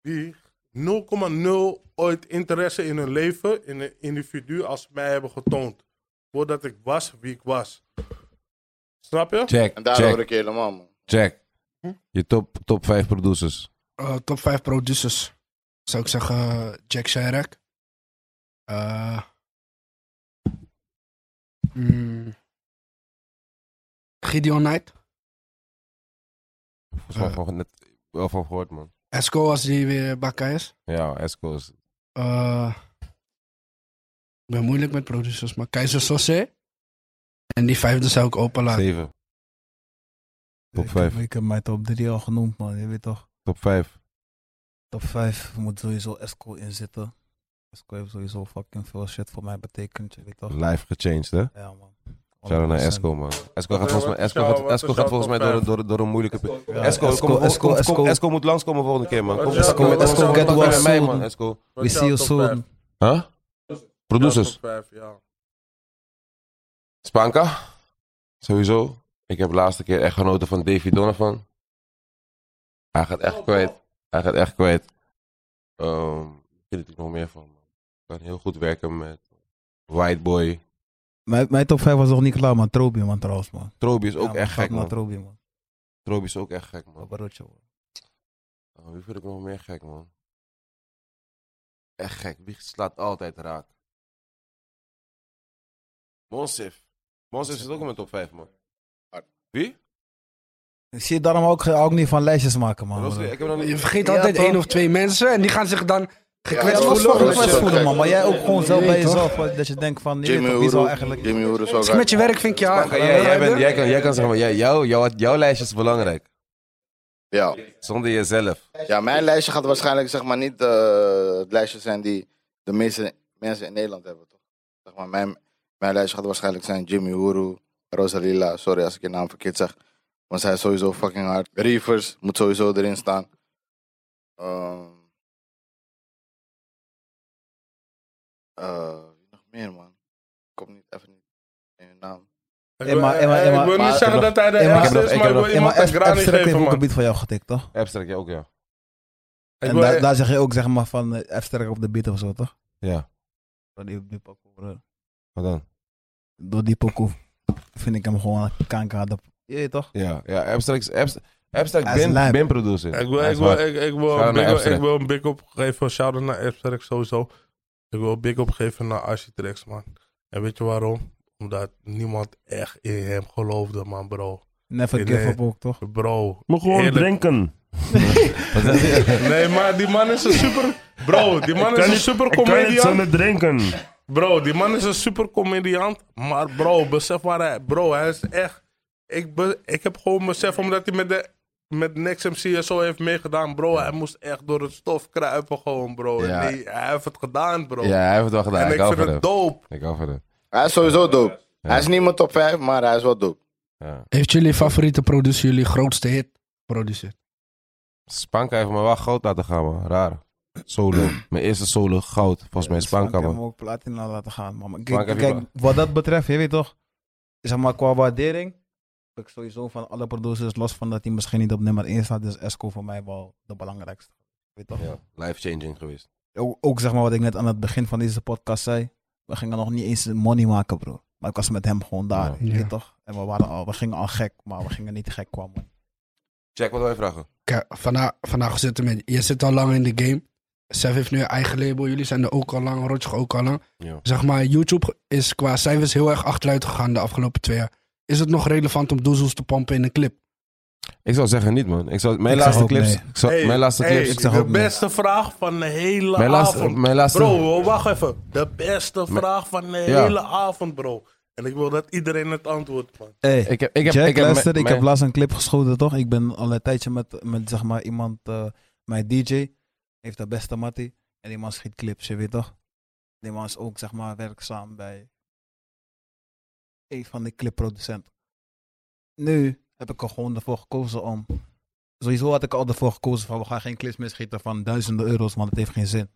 die 0,0 ooit interesse in hun leven, in een individu als mij hebben getoond. Voordat ik was wie ik was. Snap je? Check, En daar check, hoor ik Hm? je helemaal, man. check. Je top, top 5 producers. Eh, top 5 producers. Zou ik zeggen Jack Sherrack. Eh, mm, Gideon Knight. Volgens mij Eh. gewoon net wel van gehoord, man. Esco als die weer bakka is. Ja, Esco is... Eh, ik ben moeilijk met producers, maar Keizer Sosse. En die vijfde zou ik openlaten. 7. Top ik, 5. Heb, ik heb mijn top 3 al genoemd, man. Je weet toch? Top 5. Top 5 moet sowieso Esco in zitten. Wesco heeft sowieso fucking veel shit voor mij betekend, je weet toch? Live gechanged, hè? Ja, man. Shout out naar 100%. Esco, man. Esco Wat gaat volgens is mij, jou- Esco gaat, wat is Esco jouw gaat volgens mij top door, vijf? door, door een moeilijke... Esco, Ja, Esco, kom- kom- Esco, kom- Esco, kom- Esco moet langskomen volgende keer, man. Kom, Wat is jouw kom met top- Esco, wat is get jouw well top soon. vijf? man, Esco. Wat We is jouw see you top soon. vijf? Huh? Jouw Producers. top vijf, ja. Spanka. Sowieso. Ik heb de laatste keer echt genoten van Davy Donovan. Hij gaat echt kwijt. Hij gaat echt kwijt. Ehm, ik vind het er nog meer van. Ik kan heel goed werken met White Boy. Mijn, mijn top 5 was nog niet klaar, man. Trobi, man, trouwens, man. Trobi is Ja, ook man, echt fuck gek, maar man. Trobi, man. Trobi is ook echt gek, man. Barbarotje, man. Oh, wie vind ik nog meer gek, man? Echt gek. Wie slaat altijd raak? Monsif. Monsif zit ook in mijn top 5, man. Wie? Ik zie daarom ook, ge- ook niet van lijstjes maken, man. Rosli, broer. ik heb nog Je niet... vergeet Ja, altijd toch? één of twee mensen en die gaan zich dan gekwetst Ja, dat was Rosli- voelen. wel Rosli- gekwetst voelen, man. Maar jij ook gewoon zelf bij Nee, toch? jezelf, eh, dat je denkt van, nee, Jimmy toch, wie zou Hoeroe. eigenlijk... Jimmy Hoeroe is ook Misschien met je hard. werk vind ik je hard. Oké, jij, jij, bent, jij, kan, jij kan zeggen, maar jij, jou, jou, jouw lijstje is belangrijk. Ja. Zonder jezelf. ja, mijn lijstje gaat waarschijnlijk zeg maar niet eh, het lijstje zijn die de meeste mensen in Nederland hebben, toch? Zeg maar, mijn, mijn lijstje gaat waarschijnlijk zijn Jimmy Uru, Rosalila, sorry als ik je naam verkeerd zeg. Want zij is sowieso fucking hard. Reavers moet sowieso erin staan. Ehm eh, wie nog meer, man? Ik kom niet even niet in hun naam. Ik Hey, wil- maar- hey, maar- hey, hey, ik wil maar- niet zeggen dat hij de hey, maar- ergste ik is, heb nog- maar ik ik heb wil nog- Hey, maar iemand een F- graan niet F-Strip heeft geven, ook man. gebied van jou getikt, toch? Abstract, jij ook, ja. Ik En wil- daar, daar zeg je ook, zeg maar, van eh, F-Strip op de beat of zo, toch? Ja, Door die, die pokoe, broer. wat dan? Door die pokoe vind ik hem gewoon kanker aan de... Je weet toch? Ja, ja Abstract, abstract, abstract Hij is bin, lijp. bin producer. Ik wil, Hij ik is wil, hard. ik, ik wil, Shout-out een naar big up, F-Strek. ik wil een big up geven. Shout-out naar F-Strek sowieso. Ik wil een big up geven naar Architrex, man. En weet je waarom? Omdat niemand echt in hem geloofde, man, bro. Never Nee, give nee. eh, up ook, toch? Bro. Moet gewoon eerlijk. drinken. Nee, maar die man is een super... Bro, die man is een super Ik kan niet comedian. zonder drinken. Bro, die man is een super comediant. Maar bro, besef waar hij... Bro, hij is echt... Ik, be- ik heb gewoon besef omdat hij met de... Met Next MC en zo heeft meegedaan, bro. Hij moest echt door het stof kruipen, gewoon, bro. Ja. Nee, hij heeft het gedaan, bro. Ja, hij heeft het wel gedaan. en ik ik hou vind van het hem. dope. Ik hou van hem. Hij is sowieso dope. Hij is niet mijn top 5, maar hij is wel dope. Ja. Heeft jullie favoriete producer jullie grootste hit produceerd? Spanka heeft me wel goud laten gaan, man. Raar. Solo. Mijn eerste solo, goud. Volgens mij Spanka, Ik man. hem ook platina laten gaan. man. Maar Spank kijk, heb je kijk, wat dat betreft, je weet toch, zeg maar qua waardering, heb ik sowieso van alle producers, los van dat hij misschien niet op nummer 1 staat, is Esco voor mij wel de belangrijkste. Weet toch? Ja. Life-changing geweest. Ook, ook zeg maar wat ik net aan het begin van deze podcast zei, we gingen nog niet eens money maken, bro. Maar ik was met hem gewoon daar, Ja. je weet Ja. toch? En we, waren al, we gingen al gek, maar we gingen niet gek qua money. Jack, wat wil je vragen? Kijk, vandaag, vandaag zitten met. Je zit al lang in de game. Sef heeft nu een eigen label. Jullie zijn er ook al lang. Rotje ook al lang. Ja. Zeg maar, YouTube is qua cijfers heel erg achteruit gegaan de afgelopen twee jaar. Is het nog relevant om doezels te pompen in een clip? Ik zou zeggen niet, man. Ik zou, mijn, Ik laatste zeg ook clips, nee. ik zou- Hey, mijn laatste hey, clips... ik zeg de ook nee. beste vraag van de hele Mijn laatste... avond. Mijn laatste... Bro, wacht even. De beste Mijn- vraag van de Ja. hele avond, bro. En ik wil dat iedereen het antwoord, man. Hey, Ik heb, ik heb, Jack, ik heb luister, mijn- ik heb mijn- laatst een clip geschoten, toch? Ik ben al een tijdje met, met zeg maar, iemand, eh, mijn DJ, heeft de beste mattie. En die man schiet clips, je weet toch? Die man is ook, zeg maar, werkzaam bij een van de clipproducenten. Nu heb ik er gewoon ervoor gekozen om... Sowieso had ik al ervoor gekozen van, we gaan geen clips meer schieten van duizenden euro's, want het heeft geen zin.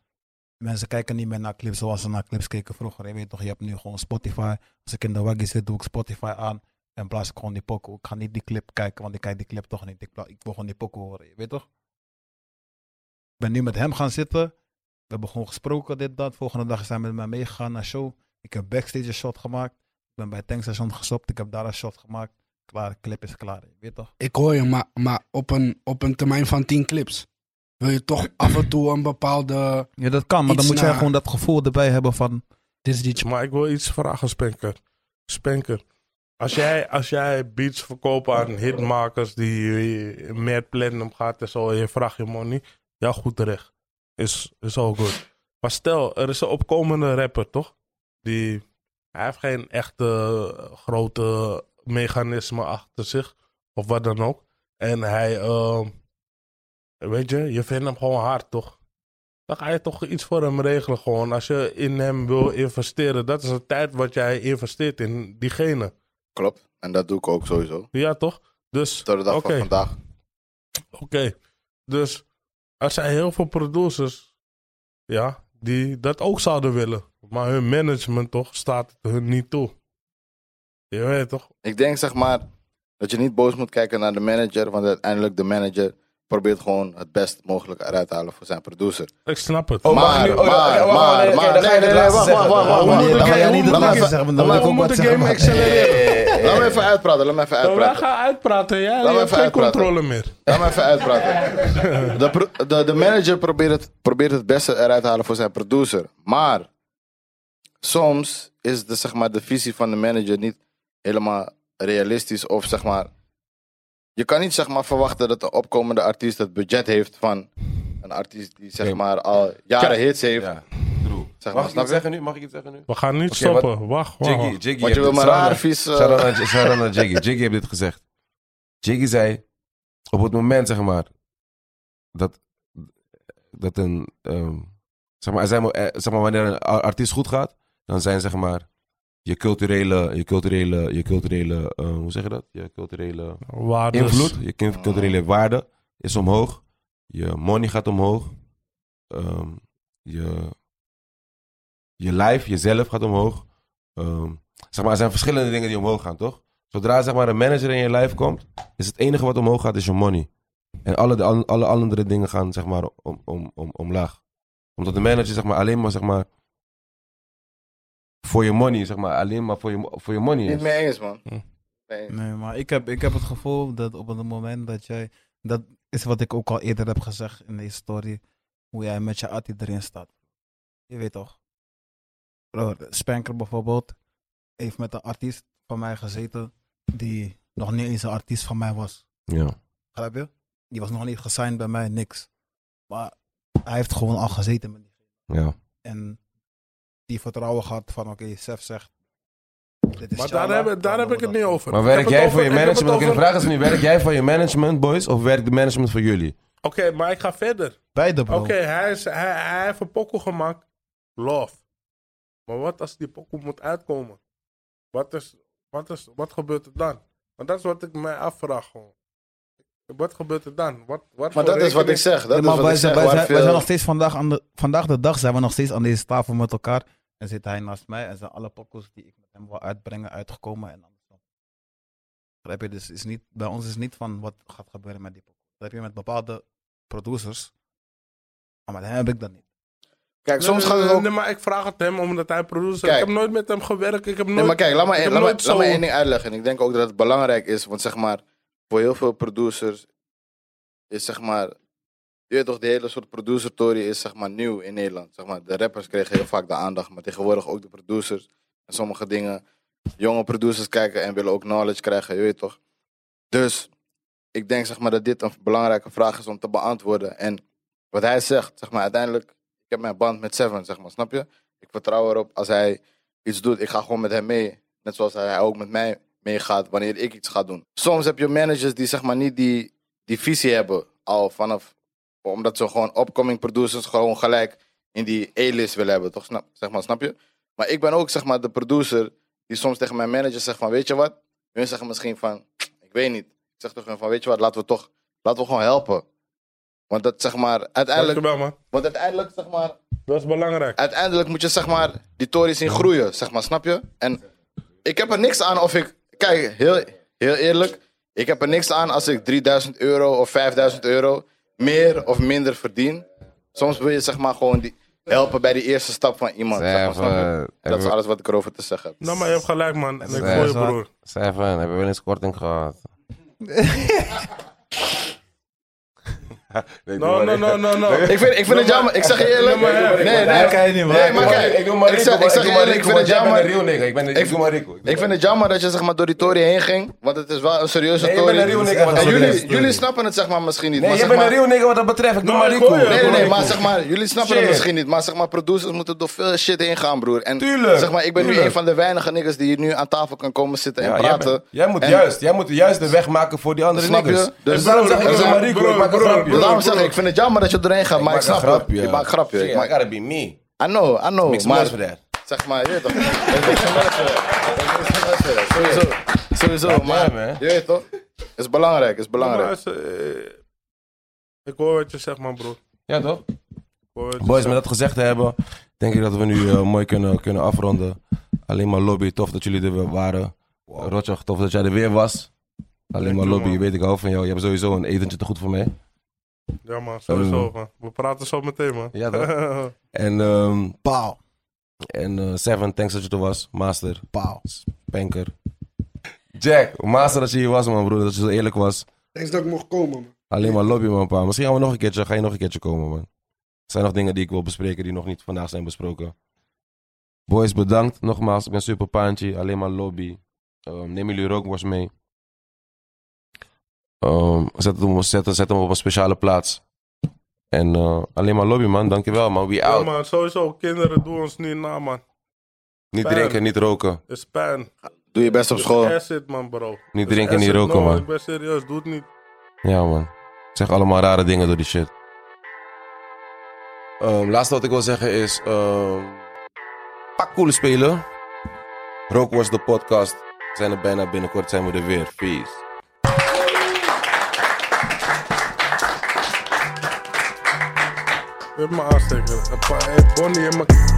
Mensen kijken niet meer naar clips zoals ze naar clips keken vroeger. Je weet toch, je hebt nu gewoon Spotify. Als ik in de waggie zit, doe ik Spotify aan. En blaas ik gewoon die pokoe. Ik ga niet die clip kijken, want ik kijk die clip toch niet. Ik, bla- ik wil gewoon die pokoe horen, je weet toch? Ik ben nu met hem gaan zitten. We hebben gewoon gesproken, dit, dat. Volgende dag is hij met mij meegegaan naar show. Ik heb backstage een shot gemaakt. Ik ben bij het tankstation gestopt. Ik heb daar een shot gemaakt. Klaar, de clip is klaar, je weet toch? Ik hoor je, maar, maar op, een, op een termijn van 10 clips. Wil je toch af en toe een bepaalde. Ja, dat kan, maar Iets dan moet jij naar- gewoon dat gevoel erbij hebben van... Dit is die Maar ik wil iets vragen, Spenker. Spenker, als jij, als jij beats verkoopt aan hitmakers die eh, meer platinum gaat en zo, en je vraagt je money, ja, goed terecht. Is, is all good. Maar stel, er is een opkomende rapper, toch? Die, hij heeft geen echte eh, grote mechanisme achter zich, of wat dan ehm, ook. En hij, eh, weet je, je vindt hem gewoon hard, toch? Dan ga je toch iets voor hem regelen gewoon. Als je in hem wil investeren, dat is de tijd wat jij investeert in diegene. Klopt. En dat doe ik ook sowieso. Ja, toch? Dus, Tot de dag Oké. van vandaag. oké. Dus er zijn heel veel producers, ja, die dat ook zouden willen. Maar hun management toch staat het hun niet toe. Je weet toch? Ik denk zeg maar dat je niet boos moet kijken naar de manager. Want uiteindelijk de manager probeert gewoon het best mogelijke eruit te halen voor zijn producer. Ik snap het. Oh, mag ik maar, nu- maar, oh, ja, ja, wacht, maar, wacht, nee, maar, oké, dan ga je dit nee, nee, laatste zeggen. wacht, wacht, wacht, wacht, Oh, wacht. nee, dan ga Laat jij me- niet het laat me laatste even- zeggen, want dan laat wil ik me- ook wat zeggen. maar- Laat me even uitpraten, laat me even Nou, wij uitpraten. gaan uitpraten, ja? Je me hebt even geen uitpraten. controle meer. Laat me even uitpraten. De, pro- de, de manager probeert het, probeert het beste eruit te halen voor zijn producer. Maar soms is de, zeg maar, de visie van de manager niet helemaal realistisch. Of zeg maar, je kan niet zeg maar, verwachten dat de opkomende artiest het budget heeft van een artiest die zeg Oké. maar, al jaren hits heeft. Ja, true. Zeg maar, Mag ik snap iets je? zeggen nu? Mag ik iets zeggen nu? We gaan niet Oké, stoppen. Wacht, wacht. Jiggy, wacht. Jiggy. Want je wil maar raar vies... eh, Shout-out naar- shout-out naar Jiggy. Jiggy heeft dit gezegd. Jiggy zei, op het moment zeg maar, dat, dat een, ehm, zeg maar, er zijn, mo- eh, zeg maar, wanneer een a- artiest goed gaat, dan zijn zeg maar, je culturele, je culturele, je culturele, eh, hoe zeg je dat? Je culturele Waardes. invloed, je kin- culturele waarde is omhoog. Je money gaat omhoog. Ehm, je, je lijf, jezelf gaat omhoog. Ehm, zeg maar, er zijn verschillende dingen die omhoog gaan, toch? Zodra zeg maar, een manager in je lijf komt, is het enige wat omhoog gaat, is je money. En alle, de, an- alle andere dingen gaan zeg maar, om, om, om, omlaag. Omdat de manager zeg maar, alleen maar, zeg maar voor je money, zeg maar, alleen maar voor je, voor je money Niet is. mee eens, man. Hm. Nee eens. Nee, maar ik heb, ik heb het gevoel dat op het moment dat jij... Dat is wat ik ook al eerder heb gezegd in deze story. Hoe jij met je atti erin staat. Je weet toch. Bro, Spanker bijvoorbeeld heeft met een artiest van mij gezeten... die nog niet eens een artiest van mij was. Ja. Begrijp je? Die was nog niet gesigned bij mij, niks. Maar hij heeft gewoon al gezeten met die. ja. En die vertrouwen gehad van, oké, Sef zegt... Dit is Maar Shala, daar heb, daar dan heb doen ik we het dat. niet over. Maar Ik heb werk het jij over- voor je ik heb het management? Oké, de over- vraag is nu, werk jij voor je management, boys? Of werkt de management voor jullie? Oké, maar ik ga verder. Beide, Oké, Oh. bro. hij, is- hij, hij heeft een pokoe gemaakt. Love. Maar wat als die pokoe moet uitkomen? Wat, is, wat, is, wat gebeurt er dan? Want dat is wat ik mij afvraag gewoon. Wat gebeurt er dan? Wat, wat Maar voor dat is wat ik rekening- zeg. Ja, Dat maar is wat wij, ik zeg. zijn, wij, waar zijn, wij veel- zijn nog steeds vandaag, aan de, vandaag de dag zijn we nog steeds aan deze tafel met elkaar. En zit hij naast mij en zijn alle pokkels die ik met hem wil uitbrengen uitgekomen en andersom. Begrijp je? Dus is niet, bij ons is niet van wat gaat gebeuren met die pokkels. Dat heb je met bepaalde producers. Maar met hem heb ik dat niet. Kijk, soms nee, gaat het nee, ook... nee, maar ik vraag het hem omdat hij producer is. Kijk. Ik heb nooit met hem gewerkt. Ik heb nooit... Nee, maar kijk, laat maar, ik heb laat, maar, nooit laat maar zo- één ding uitleggen. En ik denk ook dat het belangrijk is, want zeg maar, voor heel veel producers is zeg maar, je weet toch, de hele soort producer-tory is zeg maar nieuw in Nederland. Zeg maar, de rappers kregen heel vaak de aandacht, maar tegenwoordig ook de producers. En sommige dingen, jonge producers kijken en willen ook knowledge krijgen, je weet toch. Dus ik denk zeg maar dat dit een belangrijke vraag is om te beantwoorden. En wat hij zegt, zeg maar, uiteindelijk, ik heb mijn band met Seven, zeg maar, snap je? Ik vertrouw erop als hij iets doet, ik ga gewoon met hem mee. Net zoals hij ook met mij meegaat wanneer ik iets ga doen. Soms heb je managers die zeg maar niet die, die visie hebben al vanaf... Omdat ze gewoon upcoming producers gewoon gelijk in die A-list willen hebben, toch? Snap, zeg maar, snap je? Maar ik ben ook zeg maar de producer die soms tegen mijn manager zegt van... Weet je wat? Hun zeggen misschien van... Ik weet niet. Ik zeg toch hun van... Weet je wat? Laten we toch... Laten we gewoon helpen. Want dat zeg maar... Uiteindelijk... Dankjewel, man. Want uiteindelijk zeg maar Dat is belangrijk. uiteindelijk moet je zeg maar die tories zien groeien, zeg maar, snap je? En ik heb er niks aan of ik, kijk, heel, heel eerlijk, ik heb er niks aan als ik 3000 euro of 5000 euro meer of minder verdien. Soms wil je zeg maar gewoon die, helpen bij die eerste stap van iemand. Zeg maar, snap je? Seven, Dat is eh, hebben alles wat ik erover te zeggen heb. Nou, maar je hebt gelijk, man. En ik Nee, voel je, is waar. broer. Seven, hebben we eens korting gehad? nee, No, no, no, no, no. Ik vind, ik vind het jammer, ik zeg je Nou, eerlijk. Nee, maar- Nee, nee, kan je niet, man. nee, maar kijk, Ik doe maar ik Rico, zeg- ik ik zeg doe eerlijk, maar ik Rico, vind want het jij bent jammer. een real nigga. Ik, ben, ik, Ik- doe maar Rico. Ik vind het jammer dat je zeg maar, door die tory heen ging, want het is wel een serieuze Nee, je tory. bent een real nigga, want En dat is jullie, een jullie snappen het zeg maar misschien niet. Nee, maar jij zeg bent een maar- real nigga wat dat betreft. Ik doe Nou, maar ik Rico. hoor je, Nee, nee, nee, Broer, maar ik- zeg maar, jullie snappen Shit. dat misschien niet. Maar zeg maar, producers moeten door veel shit heen gaan, broer. En Tuurlijk, zeg maar, ik ben nu tuurlijk. een van de weinige niggas die hier nu aan tafel kan komen zitten en Ja, jij, praten. bent- jij moet En- juist, jij moet juist de weg maken voor die andere Snap je? niggers. Dus Dus daarom zeg ik broer, doe maar Rico. Ik maak een grapje. daarom zeg ik, ik vind het jammer dat je doorheen gaat, maar ik snap het. Ik maak een grapje. Ik I maak- gotta be me. I know, I know. Mix Oh, maar, Maar for that. zeg maar, je weet toch. Dat is niks van mensen. Dat is niks van mensen. Sowieso. Sowieso, maar, maar man. je weet toch. is belangrijk, is Ja, maar belangrijk. als, eh, ik hoor wat je zegt, man, broer. Ik Ja, toch? hoor wat je Boys, zegt. met dat gezegd te hebben, denk ik dat we nu eh, mooi kunnen, kunnen afronden. Alleen maar lobby, tof dat jullie er weer waren. Wow. tof dat jij er weer was. Alleen Thank maar you, lobby, man. weet ik al van jou. Je hebt sowieso een etentje te goed voor mij. Ja, man, sowieso, man. We praten zo meteen, man. Ja, toch? En, ehm Paal. En eh, Seven, thanks dat je er was. Master. Paal. Spanker. Jack, master dat je hier was, man, broer. Dat je zo eerlijk was. Thanks dat ik mocht komen, man. Alleen maar lobby, man, pa. Misschien gaan we nog een keertje, ga je nog een keertje komen, man. Er zijn nog dingen die ik wil bespreken die nog niet vandaag zijn besproken. Boys, bedankt nogmaals. Ik ben super paantje. Alleen maar lobby. Ehm, neem jullie rookworst mee. Ehm, zet, hem, zet, zet hem op een speciale plaats. En eh, alleen maar lobby, man. Dankjewel, man. We Ja, out. man, sowieso. Kinderen doen ons niet na, man. Niet Fijn. drinken, niet roken. Is pijn. Doe je best op school. Is acid, man, bro. Niet Is drinken, niet acid, roken, no, man. Ik ben serieus, doe het niet. Ja, man. Zeg allemaal rare dingen door die shit. Ehm, laatste wat ik wil zeggen is... ehm pak coole spelen. Rookworst de podcast. We zijn er bijna binnenkort, zijn we er weer. Peace. Geef me aansteker. Een pa- eh, Bonnie in mijn...